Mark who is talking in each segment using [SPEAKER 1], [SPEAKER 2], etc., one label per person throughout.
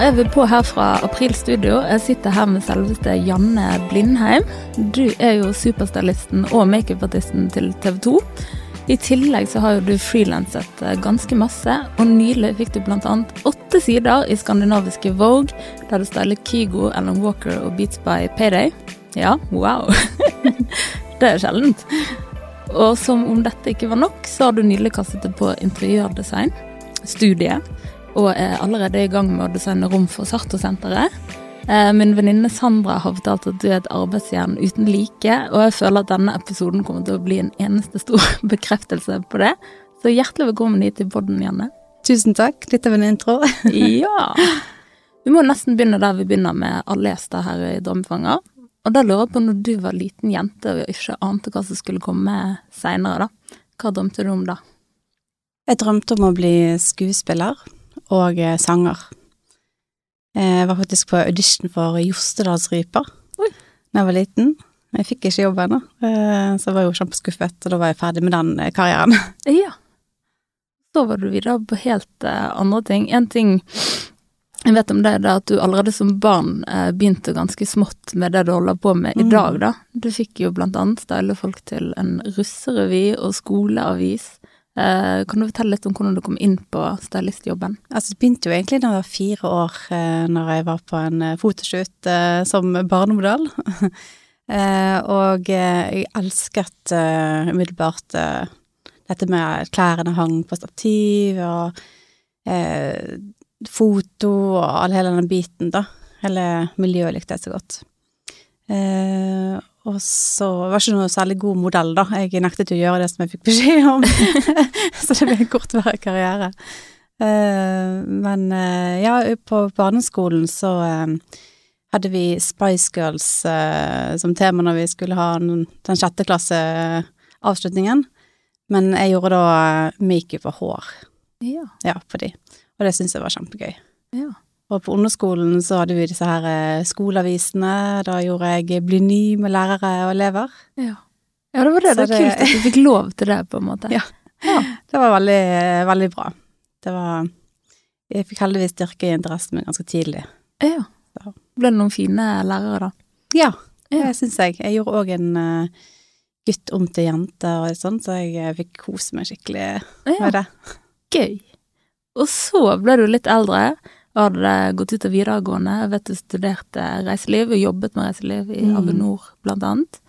[SPEAKER 1] er vi på her fra Aprilstudio. Jeg sitter her med selveste Janne Blindheim. Du er jo superstylisten og makeupartisten til TV 2. I tillegg så har jo du frilanset eh, ganske masse, og nylig fikk du bl.a. åtte sider i skandinaviske Vogue, der du styler Kygo, Alan Walker og Beats by Payday. Ja, wow! det er sjeldent. Og som om dette ikke var nok, så har du nylig kastet deg på interiørdesign, studiet, og er allerede i gang med å designe rom for Sarto-senteret. Eh, Min venninne Sandra har fortalt at du er et arbeidsjern uten like, og jeg føler at denne episoden kommer til å bli en eneste stor bekreftelse på det. Så hjertelig velkommen hit til podden, Janne.
[SPEAKER 2] Tusen takk. Litt av en intro.
[SPEAKER 1] Ja! Vi må nesten begynne der vi begynner med alle gjester her i Drømmefanger. Og da lurer jeg på når du var liten jente og ikke ante hva som skulle komme seinere, da. Hva drømte du om da?
[SPEAKER 2] Jeg drømte om å bli skuespiller og eh, sanger. Eh, Jeg var faktisk på audition for Jostedalsryper
[SPEAKER 1] Oi.
[SPEAKER 2] da jeg var liten. Jeg fikk ikke jobb ennå, eh, så jeg var jo kjempeskuffet, og da var jeg ferdig med den eh, karrieren.
[SPEAKER 1] Ja. Så var du videre på helt eh, andre ting. En ting jeg vet om deg, det er at du allerede som barn eh, begynte ganske smått med det du holder på med i
[SPEAKER 2] Mm.
[SPEAKER 1] dag, da. Du fikk jo blant annet style folk til en russerevy og skoleavis. Eh, kan du fortelle litt om hvordan du kom inn på stylistjobben?
[SPEAKER 2] Altså, det begynte jo egentlig da jeg var fire år, eh, når jeg var på en eh, fotoshoot eh, som barnemodell. eh, og eh, jeg elsket eh, umiddelbart eh, dette med at klærne hang på stativ, og eh, foto og all, hele den biten, da. Hele miljøet likte jeg så godt. Eh, og så var jeg ikke noe særlig god modell, da. Jeg nektet jo å gjøre det som jeg fikk beskjed om. så det ble en kortvarig karriere. Eh, men eh, ja, på barneskolen så eh, hadde vi Spice Girls eh, som tema når vi skulle ha den, den sjette klasseavslutningen. Men jeg gjorde da eh, makeup og hår
[SPEAKER 1] Ja.
[SPEAKER 2] ja, på de, og det syntes jeg var kjempegøy.
[SPEAKER 1] Ja.
[SPEAKER 2] Og på underskolen så hadde vi disse her eh, skoleavisene. Da gjorde jeg Bli ny med lærere og elever.
[SPEAKER 1] Ja, det var det.
[SPEAKER 2] Så
[SPEAKER 1] det er
[SPEAKER 2] det-
[SPEAKER 1] kult at du fikk lov til det, på en måte.
[SPEAKER 2] Ja. Det var veldig, veldig bra. Det var Jeg fikk heldigvis styrke i interessen min ganske tidlig.
[SPEAKER 1] ja.
[SPEAKER 2] Ja.
[SPEAKER 1] Ble det noen fine lærere, da?
[SPEAKER 2] Ja,
[SPEAKER 1] Ja.
[SPEAKER 2] det syns jeg. Jeg gjorde òg en eh, gutt om til jente og sånn, så jeg eh, fikk kose meg skikkelig med det.
[SPEAKER 1] gøy. Og så ble du litt eldre, og hadde gått ut av videregående. Jeg vet du studerte reiseliv og jobbet med reiseliv i
[SPEAKER 2] Mm.
[SPEAKER 1] Avinor, blant annet.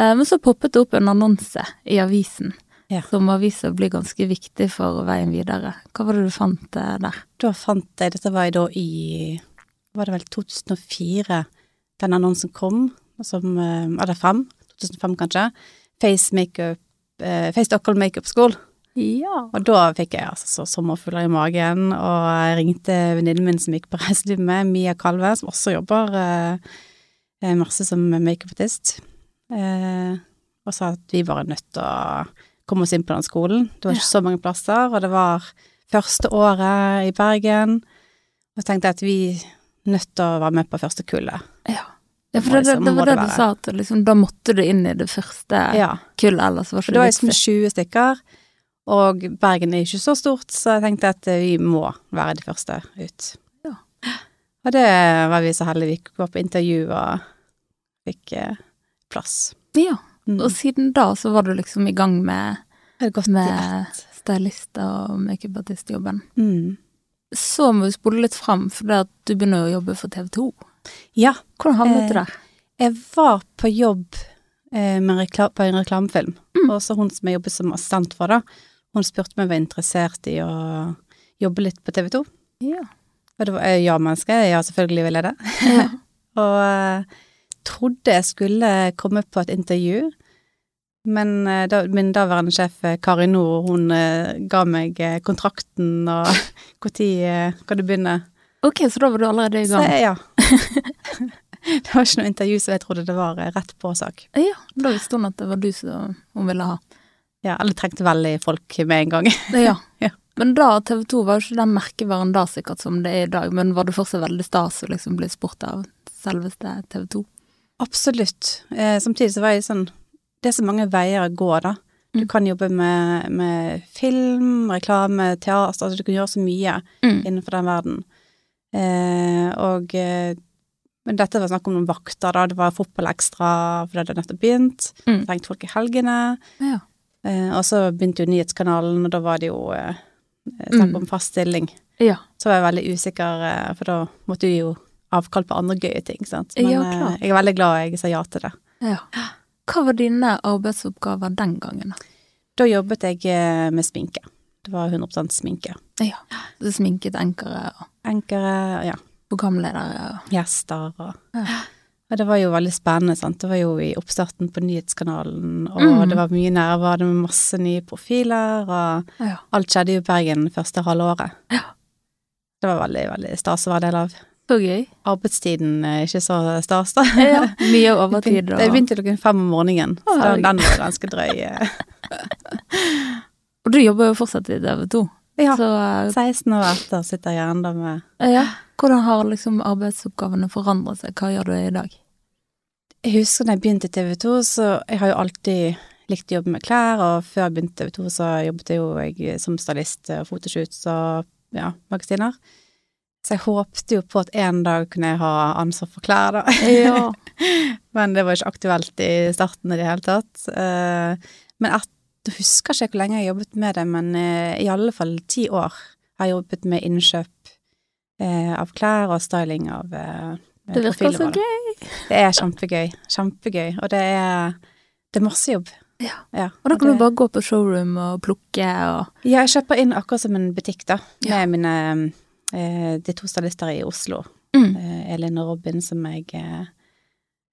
[SPEAKER 1] Eh, Men så poppet det opp en annonse i avisen,
[SPEAKER 2] Ja.
[SPEAKER 1] som avisa blir ganske viktig for veien videre. Hva var det du fant eh, der?
[SPEAKER 2] Da fant jeg Dette var jeg da i Var det vel 2004 den annonsen kom? Som, eh, eller fem? 2005, kanskje. Face Makeup eh, Face Stockholm Makeup School.
[SPEAKER 1] Ja.
[SPEAKER 2] Og da fikk jeg altså så sommerfugler i magen, og jeg ringte venninnen min som gikk på reiseliv med, Mia Kalve, som også jobber eh, eh, masse som makeupartist, eh, og sa at vi bare er nødt til å komme oss inn på den skolen. Det var ikke så mange plasser, og det var første året i Bergen, og tenkte jeg at vi er nødt til å være med på første kullet.
[SPEAKER 1] Ja, ja for
[SPEAKER 2] Må
[SPEAKER 1] det, det,
[SPEAKER 2] liksom-
[SPEAKER 1] det
[SPEAKER 2] må
[SPEAKER 1] var
[SPEAKER 2] det
[SPEAKER 1] det du
[SPEAKER 2] være.
[SPEAKER 1] sa, at liksom, da måtte du inn i det første
[SPEAKER 2] Ja.
[SPEAKER 1] kullet, ellers var
[SPEAKER 2] For
[SPEAKER 1] ikke
[SPEAKER 2] det
[SPEAKER 1] det
[SPEAKER 2] var
[SPEAKER 1] vits
[SPEAKER 2] liksom 20 stykker, og Bergen er jo ikke så stort, så jeg tenkte at eh, vi må være de første ut.
[SPEAKER 1] Ja.
[SPEAKER 2] Og det var vi så heldige. Vi var på intervju og fikk eh, plass.
[SPEAKER 1] Ja.
[SPEAKER 2] Mm.
[SPEAKER 1] Og siden da så var du liksom i gang med,
[SPEAKER 2] det gått
[SPEAKER 1] med stylist- og makeupartistjobben.
[SPEAKER 2] Mm.
[SPEAKER 1] Så må vi spole litt fram, for det at du begynner jo å jobbe for TV 2.
[SPEAKER 2] Ja,
[SPEAKER 1] Hvordan havnet du
[SPEAKER 2] Eh,
[SPEAKER 1] der?
[SPEAKER 2] jeg var på jobb eh, med en rekla på en reklamefilm,
[SPEAKER 1] Mm.
[SPEAKER 2] og så hun som jeg jobbet som assistent for da, hun spurte meg om jeg var interessert i å jobbe litt på TV 2.
[SPEAKER 1] Ja.
[SPEAKER 2] Og det var eh, ja-menneske, ja selvfølgelig vil jeg det. og eh, trodde jeg skulle komme på et intervju, men eh, da, min daværende sjef eh, Kari Nord, hun eh, ga meg eh, kontrakten og når eh, kan du begynne?
[SPEAKER 1] Ok, så da var du allerede i
[SPEAKER 2] Så
[SPEAKER 1] gang.
[SPEAKER 2] jeg, ja. det var ikke noe intervju, så jeg trodde det var eh, rett på sak.
[SPEAKER 1] Ja, da visste hun at det var du som hun ville ha.
[SPEAKER 2] Ja, eller trengte veldig folk med en gang.
[SPEAKER 1] Ja.
[SPEAKER 2] Ja.
[SPEAKER 1] Men da, TV 2 var jo ikke den merkevaren da sikkert som det er i dag, men var det fortsatt veldig stas å liksom bli spurt av selveste TV 2?
[SPEAKER 2] Absolutt. Eh, samtidig så var jeg sånn Det er så mange veier å gå, da. Du
[SPEAKER 1] Mm.
[SPEAKER 2] kan jobbe med, med film, reklame, teater altså Du kan gjøre så mye
[SPEAKER 1] Mm.
[SPEAKER 2] innenfor den verden. Eh, og eh, Men dette var snakk om noen vakter, da. Det var fotball ekstra, for det hadde nettopp begynt.
[SPEAKER 1] Mm.
[SPEAKER 2] Trengte folk i helgene.
[SPEAKER 1] Ja.
[SPEAKER 2] Eh, og så begynte jo nyhetskanalen, og da var det jo eh,
[SPEAKER 1] Mm.
[SPEAKER 2] snakk om fast stilling.
[SPEAKER 1] ja.
[SPEAKER 2] Så var jeg veldig usikker, eh, for da måtte du jo avkall på andre gøye ting, sant. Men
[SPEAKER 1] Ja,
[SPEAKER 2] eh,
[SPEAKER 1] klart.
[SPEAKER 2] jeg er veldig glad jeg sa ja til det.
[SPEAKER 1] ja. Hva var dine arbeidsoppgaver den gangen? da?
[SPEAKER 2] Da jobbet jeg eh, med sminke. Det var 100 sminke.
[SPEAKER 1] Ja. Du sminket enkere og
[SPEAKER 2] Enkere, ja,
[SPEAKER 1] programledere. og-
[SPEAKER 2] gjester og
[SPEAKER 1] Ja.
[SPEAKER 2] Og det var jo veldig spennende, sant. Det var jo i oppstarten på nyhetskanalen, og
[SPEAKER 1] Mhm.
[SPEAKER 2] det var mye nerver, det var masse nye profiler, og
[SPEAKER 1] Ja.
[SPEAKER 2] alt skjedde jo i Bergen første halvåret.
[SPEAKER 1] Ja.
[SPEAKER 2] Det var veldig, veldig stas å være del av.
[SPEAKER 1] Så gøy.
[SPEAKER 2] Arbeidstiden er ikke så stas, da.
[SPEAKER 1] Ja. Mye
[SPEAKER 2] Det
[SPEAKER 1] overtid
[SPEAKER 2] begynte,
[SPEAKER 1] og
[SPEAKER 2] det begynte klokken fem om morgenen, så
[SPEAKER 1] Å,
[SPEAKER 2] den, den var ganske drøy.
[SPEAKER 1] Og du jobber jo fortsatt i TV 2.
[SPEAKER 2] Ja,
[SPEAKER 1] Så eh,
[SPEAKER 2] 16 år etter sitter jeg gjerne da med
[SPEAKER 1] ja. hvordan har liksom arbeidsoppgavene forandret seg? Hva gjør du i dag?
[SPEAKER 2] Jeg husker da jeg begynte i TV 2, så jeg har jo alltid likt å jobbe med klær, og før jeg begynte i TV 2 så jobbet jeg jo jeg som stylist og fotoshoots og ja, magasiner. Så jeg håpte jo på at en dag kunne jeg ha ansvar for klær, da.
[SPEAKER 1] Ja.
[SPEAKER 2] Men det var ikke aktuelt i starten i det hele tatt. Eh, Men et, jeg husker ikke hvor lenge jeg har jobbet med det, men eh, i alle fall ti år har jeg jobbet med innkjøp eh, av klær og styling av eh,
[SPEAKER 1] Det virker så
[SPEAKER 2] profilvarer.
[SPEAKER 1] gøy.
[SPEAKER 2] Det er kjempegøy. Kjempegøy. Og det er, det er masse jobb.
[SPEAKER 1] Ja.
[SPEAKER 2] Ja,
[SPEAKER 1] Og da kan
[SPEAKER 2] det-
[SPEAKER 1] du bare gå på showroom og plukke og
[SPEAKER 2] Ja, jeg kjøper inn akkurat som en butikk, da. Med
[SPEAKER 1] Ja.
[SPEAKER 2] mine eh, De to stylister i Oslo.
[SPEAKER 1] Mm.
[SPEAKER 2] Eh, Elin og Robin, som jeg eh,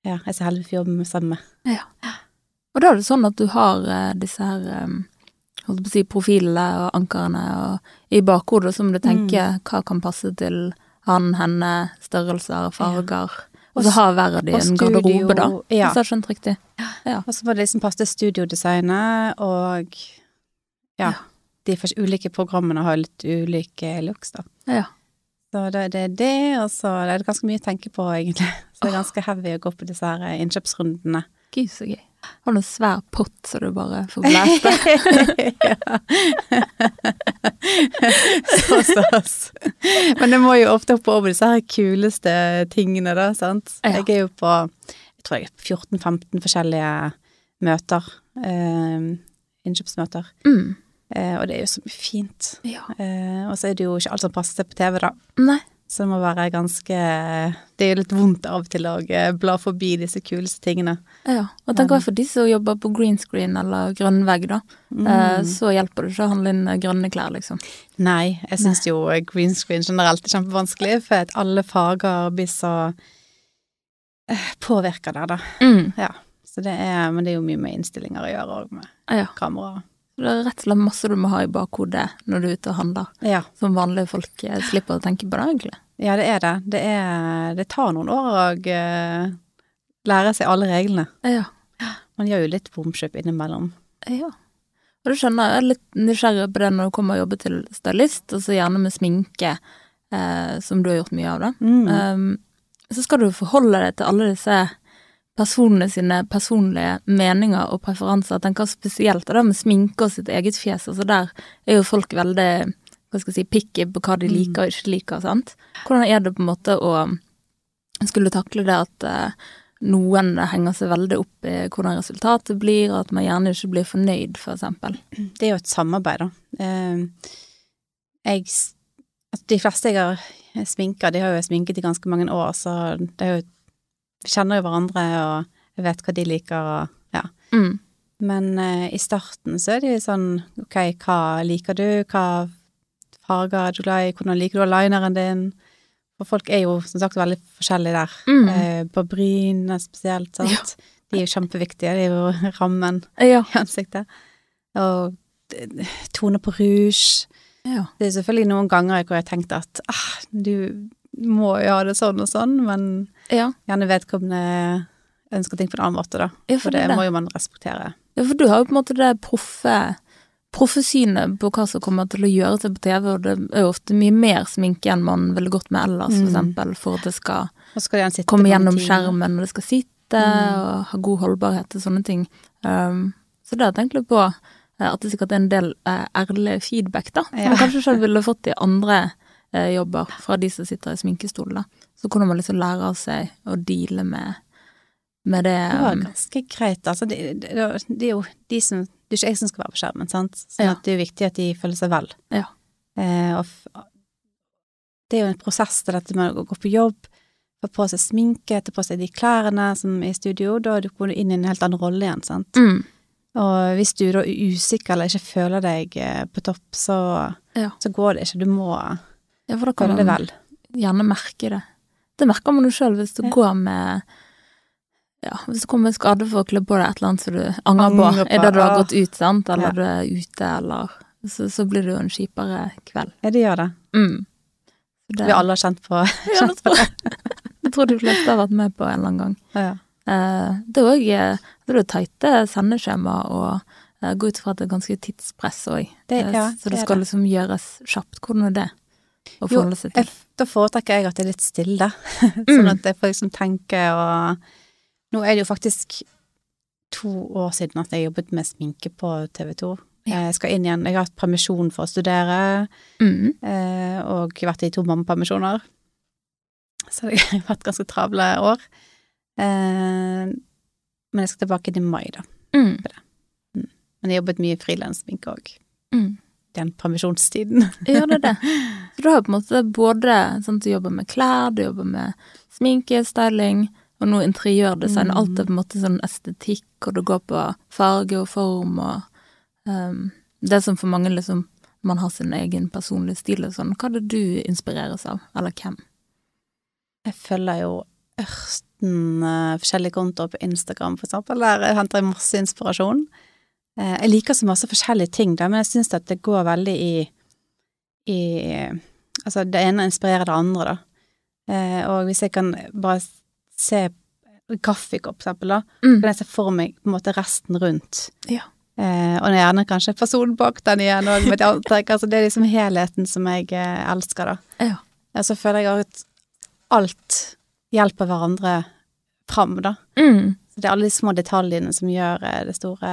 [SPEAKER 2] Ja, jeg er så heldig å få jobbe med sammen med.
[SPEAKER 1] Og da er det sånn at du har eh, disse her um, holdt på å si, profilene og ankerne og, i bakhodet, så må du tenke hva kan passe til han, henne, størrelser, farger. Og
[SPEAKER 2] Og
[SPEAKER 1] så
[SPEAKER 2] s-
[SPEAKER 1] har hver av de
[SPEAKER 2] og
[SPEAKER 1] en garderobe, da. Altså-
[SPEAKER 2] studio, ja.
[SPEAKER 1] Hvis jeg har skjønt riktig.
[SPEAKER 2] Og så må det liksom passe til studiodesignet og
[SPEAKER 1] Ja.
[SPEAKER 2] Ja. De fors- ulike programmene har litt ulike looks, da.
[SPEAKER 1] Ja.
[SPEAKER 2] Så det, det er det, og så er det ganske mye å tenke på, egentlig. Så det er ganske heavy å gå på disse her eh, innkjøpsrundene.
[SPEAKER 1] Gud, så gøy. Har du en svær pott så du bare får blæste?
[SPEAKER 2] så stas. Men jeg må jo ofte hoppe over disse her kuleste tingene, da, sant.
[SPEAKER 1] Ja.
[SPEAKER 2] Jeg er jo på jeg tror jeg er på 14-15 forskjellige møter. Eh, innkjøpsmøter.
[SPEAKER 1] mm.
[SPEAKER 2] Eh, og det er jo så mye fint.
[SPEAKER 1] Ja.
[SPEAKER 2] Eh, og så er det jo ikke alt som passer seg på TV, da.
[SPEAKER 1] Nei.
[SPEAKER 2] Så det må være ganske Det er jo litt vondt av og til å eh, bla forbi disse kuleste tingene.
[SPEAKER 1] Ja. Og tenk også for de som jobber på green screen eller grønn vegg, da. Eh, Så hjelper det ikke å handle inn eh, grønne klær, liksom.
[SPEAKER 2] Nei, jeg syns jo green screen generelt er kjempevanskelig, for at alle farger blir så eh, påvirka der, da.
[SPEAKER 1] Mm.
[SPEAKER 2] Ja. Så det er, men det er jo mye med innstillinger å gjøre, og med
[SPEAKER 1] Ja.
[SPEAKER 2] kamera.
[SPEAKER 1] Det er rett og slett masse du må ha i bakhodet når du er ute og handler.
[SPEAKER 2] Ja.
[SPEAKER 1] Som vanlige folk eh, slipper å tenke på det, egentlig.
[SPEAKER 2] ja, det er det. Det, er, det tar noen år å eh, lære seg alle reglene.
[SPEAKER 1] Ja.
[SPEAKER 2] Man gjør jo litt bomkjøp innimellom.
[SPEAKER 1] ja. Og du skjønner, jeg er litt nysgjerrig på det når du kommer og jobber til stylist, og så gjerne med sminke, eh, som du har gjort mye av, da.
[SPEAKER 2] Mm.
[SPEAKER 1] Um, så skal du forholde deg til alle disse personene sine personlige meninger og preferanser. Jeg tenker spesielt det der med sminke og sitt eget fjes. Altså der er jo folk veldig hva skal jeg si, picky på hva de liker og ikke liker. sant? Hvordan er det på en måte å skulle takle det at eh, noen henger seg veldig opp i hvordan resultatet blir, og at man gjerne ikke blir fornøyd, for eksempel.
[SPEAKER 2] det er jo et samarbeid, da. Eh, Jeg, s- altså, de fleste jeg har sminka, de har jo jeg sminket i ganske mange år, så det er jo, vi kjenner jo hverandre, og jeg vet hva de liker, og ja.
[SPEAKER 1] Mm.
[SPEAKER 2] Men eh, i starten så er det jo sånn, ok, hva liker du, hva farger er du glad i, hvordan liker du lineren din? For folk er jo som sagt veldig forskjellige der.
[SPEAKER 1] Mm.
[SPEAKER 2] Eh, På brynene spesielt, sant? De er jo kjempeviktige, de er jo rammen
[SPEAKER 1] Ja.
[SPEAKER 2] i ansiktet. Og d- tone på rouge.
[SPEAKER 1] ja.
[SPEAKER 2] Det er selvfølgelig noen ganger hvor jeg har tenkt at ah, du må jo ha det sånn og sånn, men
[SPEAKER 1] Ja,
[SPEAKER 2] gjerne vedkommende ønsker ting på en annen måte, da.
[SPEAKER 1] Ja, for
[SPEAKER 2] For det
[SPEAKER 1] det er det.
[SPEAKER 2] må jo man respektere.
[SPEAKER 1] Ja, for du har jo på en måte det proffe proffesynet på hva som kommer til å gjøre seg på TV, og det er jo ofte mye mer sminke enn man ville gått med ellers, for
[SPEAKER 2] Mm.
[SPEAKER 1] eksempel, for at det skal
[SPEAKER 2] Og så skal den sitte
[SPEAKER 1] komme
[SPEAKER 2] mange
[SPEAKER 1] gjennom
[SPEAKER 2] timer.
[SPEAKER 1] skjermen, og det skal sitte,
[SPEAKER 2] Mm.
[SPEAKER 1] og ha god holdbarhet og sånne ting. Um, så det har jeg tenkt litt på, eh, at det sikkert er en del eh, ærlig feedback, da, som
[SPEAKER 2] Ja.
[SPEAKER 1] jeg kanskje selv ville fått i andre eh, jobber fra de som sitter i sminkestol, da. Så kunne man liksom lære av seg å deale med, med det.
[SPEAKER 2] Det var
[SPEAKER 1] um,
[SPEAKER 2] ganske greit. Altså, det, det, det er jo de som Det er ikke jeg som skal være på skjermen, sant. Så
[SPEAKER 1] Ja.
[SPEAKER 2] det er jo viktig at de føler seg vel.
[SPEAKER 1] Ja.
[SPEAKER 2] Eh, og f det er jo en prosess til dette med å gå på jobb, få på seg sminke, ta på seg de klærne som er i studio. Da er du- går du inn i en helt annen rolle igjen, sant.
[SPEAKER 1] mm,
[SPEAKER 2] Og hvis du da er usikker eller ikke føler deg eh, på topp, så,
[SPEAKER 1] Ja.
[SPEAKER 2] så går det ikke. Du må
[SPEAKER 1] ja, for da kan
[SPEAKER 2] føle deg
[SPEAKER 1] man
[SPEAKER 2] vel.
[SPEAKER 1] gjerne merke det. Det merker man jo sjøl hvis du
[SPEAKER 2] Ja.
[SPEAKER 1] går med ja, Hvis du kommer med skade for å kle på deg et eller annet som du angrer på,
[SPEAKER 2] Angrer på,
[SPEAKER 1] er det du har
[SPEAKER 2] ah.
[SPEAKER 1] gått ut, sant, eller
[SPEAKER 2] Ja.
[SPEAKER 1] du er ute, eller så, så blir det jo en kjipere kveld.
[SPEAKER 2] Ja, det gjør det.
[SPEAKER 1] Mm. Så det-
[SPEAKER 2] Vi alle har kjent på
[SPEAKER 1] Ja, det tror jeg. Jeg tror de fleste har vært med på en eller annen gang.
[SPEAKER 2] ja.
[SPEAKER 1] Eh, Det er òg det er tighte sendeskjema og eh, går ut fra at det er ganske tidspress òg.
[SPEAKER 2] Det- ja,
[SPEAKER 1] så
[SPEAKER 2] det
[SPEAKER 1] det
[SPEAKER 2] er
[SPEAKER 1] skal
[SPEAKER 2] det.
[SPEAKER 1] liksom gjøres kjapt. Hvordan er det å
[SPEAKER 2] Jo,
[SPEAKER 1] forholde seg
[SPEAKER 2] Jeg
[SPEAKER 1] til?
[SPEAKER 2] f- Da foretrekker jeg at det er litt stille, sånn at jeg får liksom tenke og Nå er det jo faktisk to år siden at jeg jobbet med sminke på TV 2.
[SPEAKER 1] Ja.
[SPEAKER 2] Jeg skal inn igjen. Jeg har hatt permisjon for å studere,
[SPEAKER 1] Mm.
[SPEAKER 2] eh, og vært i to mammapermisjoner. Så det har vært ganske travle år. Eh, Men jeg skal tilbake til mai, da.
[SPEAKER 1] Mm.
[SPEAKER 2] Men jeg har jobbet mye frilanssminke òg.
[SPEAKER 1] Mm.
[SPEAKER 2] Den permisjonstiden.
[SPEAKER 1] Ja, det er det. Så du har på en måte både sånn, Du jobber med klær, du jobber med sminke, styling, og nå interiørdesign.
[SPEAKER 2] Mm.
[SPEAKER 1] Alt er på en måte sånn estetikk, og det går på farge og form og ehm, Det som for mange liksom man har sin egen personlige stil og sånn. Hva er det du inspireres av, eller hvem?
[SPEAKER 2] Jeg følger jo ørsten eh, forskjellige kontoer på Instagram, for eksempel. Der henter jeg masse inspirasjon. Eh, jeg liker så masse forskjellige ting, da, men jeg syns at det går veldig i, i Altså, det ene inspirerer det andre, da. Eh, og hvis jeg kan bare se kaffekopp, for eksempel, da,
[SPEAKER 1] Mm.
[SPEAKER 2] kan jeg se for meg på en måte resten rundt.
[SPEAKER 1] Ja.
[SPEAKER 2] Eh, og gjerne kanskje personen bak den igjen òg, med et antrekk. Altså, det er liksom helheten som jeg eh, elsker, da.
[SPEAKER 1] Ja.
[SPEAKER 2] Og så føler jeg også at alt hjelper hverandre fram, da.
[SPEAKER 1] Mm.
[SPEAKER 2] Så det er alle de små detaljene som gjør eh, det store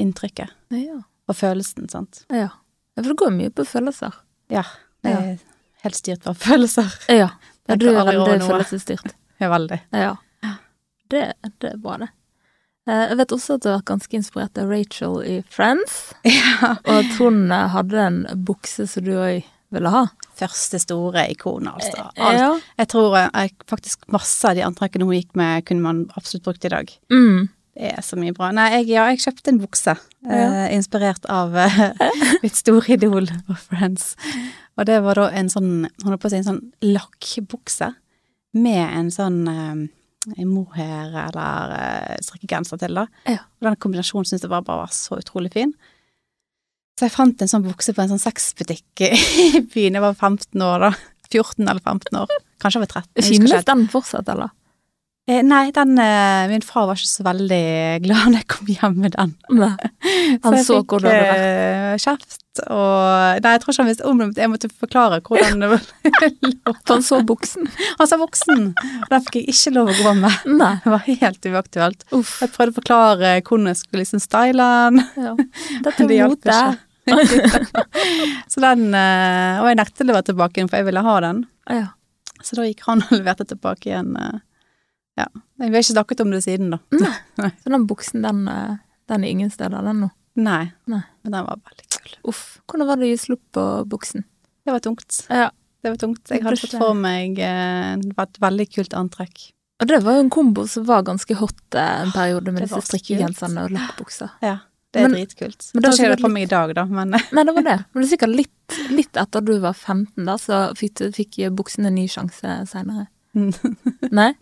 [SPEAKER 2] inntrykket.
[SPEAKER 1] Ja.
[SPEAKER 2] Og følelsen, sant.
[SPEAKER 1] ja. Ja, For det går mye på følelser.
[SPEAKER 2] Ja. Det er helt styrt av følelser.
[SPEAKER 1] Ja. ja du
[SPEAKER 2] Tenker
[SPEAKER 1] er
[SPEAKER 2] aldri over
[SPEAKER 1] veldig
[SPEAKER 2] noe.
[SPEAKER 1] følelsesstyrt.
[SPEAKER 2] Ja, veldig.
[SPEAKER 1] Ja. Det, det er bra, det. Eh, Jeg vet også at du har vært ganske inspirert av Rachel i Friends. Og at hun eh, hadde en bukse som du òg ville ha.
[SPEAKER 2] Første store ikonet, altså. Alt.
[SPEAKER 1] Eh, Ja.
[SPEAKER 2] Jeg tror eh, jeg, faktisk masse av de antrekkene hun gikk med, kunne man absolutt brukt i dag.
[SPEAKER 1] Mm.
[SPEAKER 2] Det er så mye bra. Nei, jeg, ja, jeg kjøpte en bukse, eh, inspirert av eh, mitt store idol på Friends. Og det var da en sånn, hun hadde på seg en sånn lakkbukse med en sånn eh, mohair eller eh, strikkegenser til, da.
[SPEAKER 1] Ja.
[SPEAKER 2] Og den kombinasjonen syntes jeg var bare var så utrolig fin. Så jeg fant en sånn bukse på en sånn sexbutikk i byen. Jeg var 15 år da. 14 eller 15 år. Kanskje jeg var 13. jeg husker ikke helt.
[SPEAKER 1] Finnes den fortsatt, eller?
[SPEAKER 2] Eh, Nei, den, eh, min far var ikke så veldig glad når jeg kom hjem med den.
[SPEAKER 1] Nei. Han
[SPEAKER 2] jeg
[SPEAKER 1] så
[SPEAKER 2] fikk,
[SPEAKER 1] hvor du hadde vært.
[SPEAKER 2] eh, kjeft og Nei, jeg tror ikke han visste om det, men jeg måtte forklare hvordan det var.
[SPEAKER 1] For han så buksen.
[SPEAKER 2] Han sa voksen, og den fikk jeg ikke lov å gå med.
[SPEAKER 1] Nei.
[SPEAKER 2] Det var helt uaktuelt.
[SPEAKER 1] Uff.
[SPEAKER 2] Jeg prøvde å forklare hvordan jeg skulle liksom style den.
[SPEAKER 1] Ja. Dette
[SPEAKER 2] Det
[SPEAKER 1] er
[SPEAKER 2] hjalp
[SPEAKER 1] mote.
[SPEAKER 2] ikke. Så den, eh, Og jeg nektet å levere tilbake den, for jeg ville ha den.
[SPEAKER 1] Ja.
[SPEAKER 2] Så da gikk han og leverte tilbake igjen. eh, Ja. Men Vi har ikke snakket om det siden, da.
[SPEAKER 1] Så den buksen, den, eh, den er ingen steder, den nå.
[SPEAKER 2] Nei.
[SPEAKER 1] Nei.
[SPEAKER 2] Men den var veldig kul.
[SPEAKER 1] Uff. Hvordan var det å gi slupp på buksen?
[SPEAKER 2] Det var tungt.
[SPEAKER 1] Ja.
[SPEAKER 2] Det var tungt.
[SPEAKER 1] Det
[SPEAKER 2] Jeg hadde
[SPEAKER 1] burde
[SPEAKER 2] fått for meg eh, Det var et veldig kult antrekk.
[SPEAKER 1] Og det var jo en kombo som var ganske hot eh, en periode med
[SPEAKER 2] Ah, Det
[SPEAKER 1] disse
[SPEAKER 2] var så
[SPEAKER 1] strikkegenserne og lakkbukser.
[SPEAKER 2] Ja, det er
[SPEAKER 1] Men-
[SPEAKER 2] dritkult.
[SPEAKER 1] men
[SPEAKER 2] Men
[SPEAKER 1] det
[SPEAKER 2] da
[SPEAKER 1] var
[SPEAKER 2] skjer det
[SPEAKER 1] sikkert
[SPEAKER 2] på meg i dag, da, men
[SPEAKER 1] Nei, det var det. Men det er sikkert litt, litt etter du var 15, da, så fikk, du- fikk buksene en ny sjanse seinere. Nei?
[SPEAKER 2] Nei.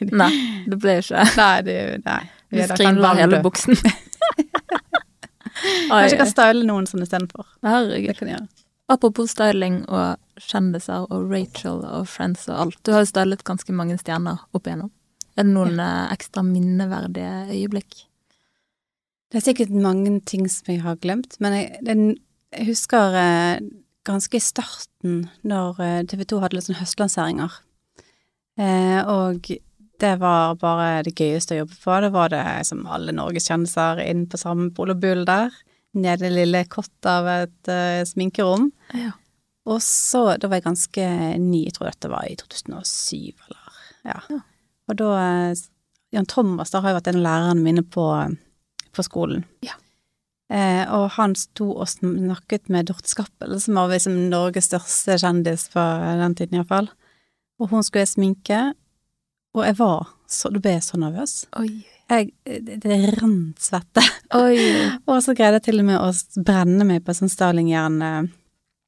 [SPEAKER 2] det-
[SPEAKER 1] Nei, det ble ikke
[SPEAKER 2] Nei, det nei.
[SPEAKER 1] Du
[SPEAKER 2] er da
[SPEAKER 1] skrinla
[SPEAKER 2] kan
[SPEAKER 1] hele
[SPEAKER 2] du-
[SPEAKER 1] buksen. Oi,
[SPEAKER 2] Kanskje jeg kan style noen sånn istedenfor.
[SPEAKER 1] herregud.
[SPEAKER 2] Det kan jeg gjøre.
[SPEAKER 1] Apropos styling og kjendiser og Rachel og Friends og alt. Du har jo stylet ganske mange stjerner opp igjennom. Er det noen eh, ekstra minneverdige øyeblikk?
[SPEAKER 2] Det er sikkert mange ting som jeg har glemt, men jeg, det, jeg husker eh, ganske i starten, når TV 2 hadde litt sånn høstlanseringer. Eh, og det var bare det gøyeste å jobbe på. Det var det som alle Norges kjendiser inn på samme Polo Bull der. Nede i lille kott av et eh, sminkerom.
[SPEAKER 1] Ja.
[SPEAKER 2] Og så, da var jeg ganske ny, jeg tror dette var i 2007 eller ja.
[SPEAKER 1] Ja.
[SPEAKER 2] Og da eh, Jan Thomas da har jo vært en av lærerne mine på, på skolen.
[SPEAKER 1] Ja.
[SPEAKER 2] Eh, og han sto og snakket med Dorte Skappel, som var liksom Norges største kjendis på den tiden iallfall. Og hun skulle jeg sminke, og jeg var så Da ble jeg så nervøs.
[SPEAKER 1] Oi.
[SPEAKER 2] Jeg, det, det rant svette.
[SPEAKER 1] Oi.
[SPEAKER 2] Og så greide jeg til og med å s- brenne meg på sånn Starling-jern. eh,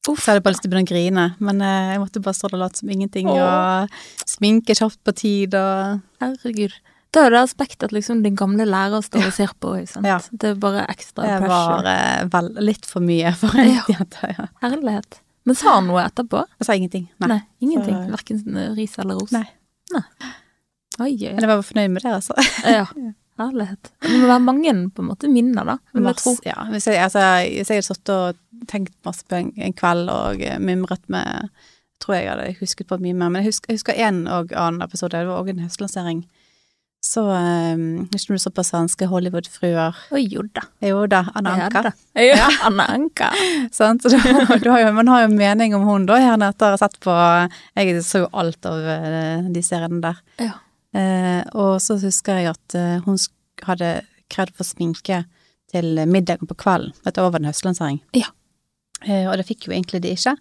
[SPEAKER 1] Uff.
[SPEAKER 2] Så hadde jeg bare lyst til å begynne å grine, men eh, jeg måtte bare stå der og late som ingenting.
[SPEAKER 1] Åh.
[SPEAKER 2] Og sminke kjapt på tid og
[SPEAKER 1] Herregud. Da er det aspektet at liksom din gamle lærer står og ser på. ikke Sant?
[SPEAKER 2] Ja.
[SPEAKER 1] Det er bare ekstra
[SPEAKER 2] Det var
[SPEAKER 1] pressure.
[SPEAKER 2] eh, vel, litt for mye for en
[SPEAKER 1] Ja.
[SPEAKER 2] jente. Ja.
[SPEAKER 1] Herlighet. Men sa han noe etterpå?
[SPEAKER 2] Jeg sa ingenting. Nei.
[SPEAKER 1] ingenting.
[SPEAKER 2] Så-
[SPEAKER 1] Verken ris eller ros?
[SPEAKER 2] Nei.
[SPEAKER 1] Nei. Oi, oi,
[SPEAKER 2] Men jeg var fornøyd med det, altså.
[SPEAKER 1] oi. Ja. Herlighet. Det må være mange på en måte minner, da. Vil jeg tro.
[SPEAKER 2] Masse- ja. hvis, jeg, altså, hvis jeg hadde sittet og tenkt masse på en, en kveld og eh, mimret med Tror jeg hadde husket på mye mer. Men jeg husker, jeg husker en og annen episode, det var også en høstlansering. Så eh, Husker du såpass svenske Hollywood-fruer?
[SPEAKER 1] Oi, jo da.
[SPEAKER 2] Jo da, Anna
[SPEAKER 1] Det er
[SPEAKER 2] Anka.
[SPEAKER 1] det. Ja. Anna Anka.
[SPEAKER 2] Sant? Så da, du har jo, man har jo mening om hun da, gjerne etter å ha sett på eh, Jeg så jo alt av eh, de seriene der.
[SPEAKER 1] Ja.
[SPEAKER 2] Eh, og så husker jeg at eh, hun sk- hadde krevd for sminke til middagen på kvelden. Dette var en høstlansering.
[SPEAKER 1] Ja.
[SPEAKER 2] Eh, og det fikk jo egentlig de ikke.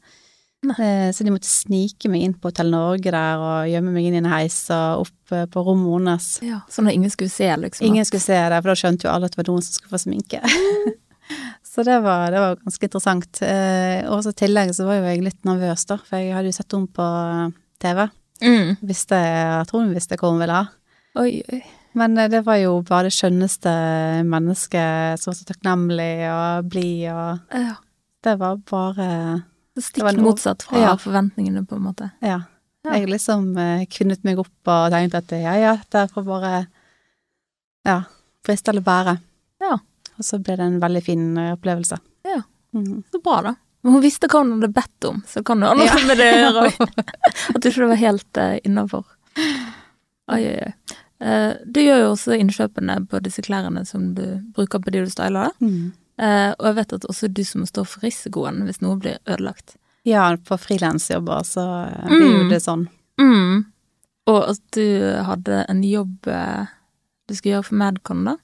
[SPEAKER 1] Nei.
[SPEAKER 2] Eh, så de måtte snike meg inn på Hotell Norge der og gjemme meg inn i en heis og opp eh, på rommet hennes.
[SPEAKER 1] ja. Sånn at ingen skulle se, liksom.
[SPEAKER 2] Ingen skulle se det, for da skjønte jo alle at det var noen som skulle få sminke. så det var, det var ganske interessant. Eh, og så i tillegg så var jo jeg litt nervøs, da, for jeg hadde jo sett henne på TV.
[SPEAKER 1] Mm.
[SPEAKER 2] Visste, jeg tror hun visste hva hun ville ha.
[SPEAKER 1] Oi, oi.
[SPEAKER 2] Men eh, det var jo bare det skjønneste mennesket som var så takknemlig og blid og
[SPEAKER 1] Ja.
[SPEAKER 2] Det var bare
[SPEAKER 1] Det
[SPEAKER 2] Det var
[SPEAKER 1] Stikk
[SPEAKER 2] en ov-
[SPEAKER 1] motsatt fra
[SPEAKER 2] Ja.
[SPEAKER 1] forventningene, på en måte.
[SPEAKER 2] Ja.
[SPEAKER 1] Ja.
[SPEAKER 2] Jeg liksom eh, kvinnet meg opp og tenkte at ja, ja, det får bare Ja. Briste eller bære.
[SPEAKER 1] Ja.
[SPEAKER 2] Og så ble det en veldig fin eh, opplevelse.
[SPEAKER 1] Ja.
[SPEAKER 2] Mhm.
[SPEAKER 1] Så bra, da. Men hun visste hva hun hadde bedt om, så kan du ha noe
[SPEAKER 2] Ja.
[SPEAKER 1] med det å gjøre. At du ikke var helt uh, innafor. Oi, oi, oi. Eh, du gjør jo også innkjøpene på disse klærne som du bruker på de du styler.
[SPEAKER 2] Mhm.
[SPEAKER 1] Eh, og jeg vet at også du som står for risikoen hvis noe blir ødelagt.
[SPEAKER 2] Ja, på frilansjobber så eh, blir jo
[SPEAKER 1] Mm.
[SPEAKER 2] det sånn.
[SPEAKER 1] Og at du hadde en jobb eh, du skulle gjøre for Madcon, da.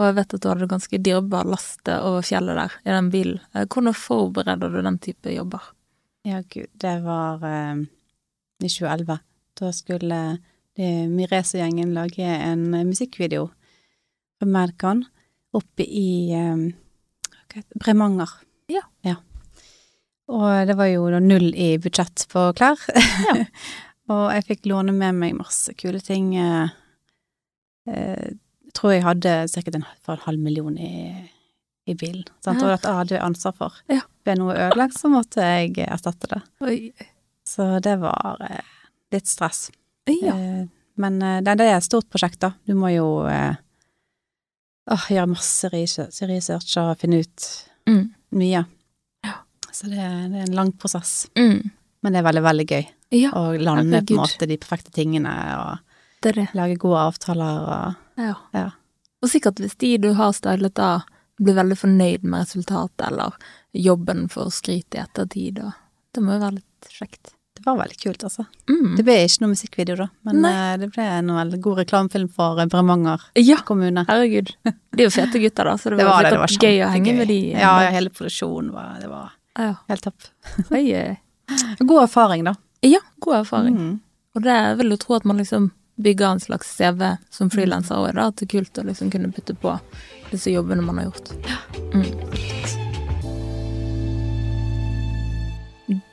[SPEAKER 1] Og jeg vet at du hadde ganske dyrbar last over fjellet der, i den bilen. Eh, hvordan forbereder du den type jobber?
[SPEAKER 2] Ja, gud, det var eh, i 2011. Da skulle det- Mirezo-gjengen lage en eh, musikkvideo for Madcon oppe i eh, hva heter det? Bremanger.
[SPEAKER 1] Ja.
[SPEAKER 2] Og det var jo da null i budsjett på klær.
[SPEAKER 1] Ja.
[SPEAKER 2] Og jeg fikk låne med meg masse kule ting. eh, eh, Jeg tror jeg hadde sikkert en, for en halv million i, i bilen. Sant?
[SPEAKER 1] Ja.
[SPEAKER 2] Og dette hadde jeg ansvar for.
[SPEAKER 1] Ja.
[SPEAKER 2] Ble noe ødelagt, så måtte jeg erstatte det.
[SPEAKER 1] Oi,
[SPEAKER 2] Så det var eh, litt stress.
[SPEAKER 1] ja.
[SPEAKER 2] Eh, men eh, det, det er et stort prosjekt, da. Du må jo eh, åh, gjøre masse research, research og finne ut
[SPEAKER 1] Mm.
[SPEAKER 2] mye.
[SPEAKER 1] Ja.
[SPEAKER 2] Så det, er- det er en lang prosess.
[SPEAKER 1] Mm.
[SPEAKER 2] Men det er veldig, veldig gøy
[SPEAKER 1] Ja,
[SPEAKER 2] å lande på
[SPEAKER 1] herregud.
[SPEAKER 2] en måte de perfekte tingene og
[SPEAKER 1] det er det.
[SPEAKER 2] lage gode avtaler og
[SPEAKER 1] Ja.
[SPEAKER 2] Ja.
[SPEAKER 1] Og sikkert hvis de du har stylet da, blir veldig fornøyd med resultatet, eller jobben får skryt i ettertid, og det må jo være litt kjekt.
[SPEAKER 2] Det var veldig kult, altså.
[SPEAKER 1] Mm.
[SPEAKER 2] Det ble ikke noe musikkvideo, da, men
[SPEAKER 1] Nei.
[SPEAKER 2] eh, det ble en veldig god reklamefilm for eh, Bremanger
[SPEAKER 1] Ja,
[SPEAKER 2] kommune.
[SPEAKER 1] herregud. De er jo fete gutter, da, så det, var sikkert gøy å henge
[SPEAKER 2] kjempegøy.
[SPEAKER 1] med de.
[SPEAKER 2] Ja, ja, hele produksjonen var, det var
[SPEAKER 1] Ja.
[SPEAKER 2] helt topp.
[SPEAKER 1] Oi, oi.
[SPEAKER 2] God erfaring, da.
[SPEAKER 1] ja, god erfaring.
[SPEAKER 2] Mm.
[SPEAKER 1] Og det vil jo tro at man liksom bygger en slags CV som frilanser òg, da. At det er kult å liksom kunne putte på disse jobbene man har gjort. Mm.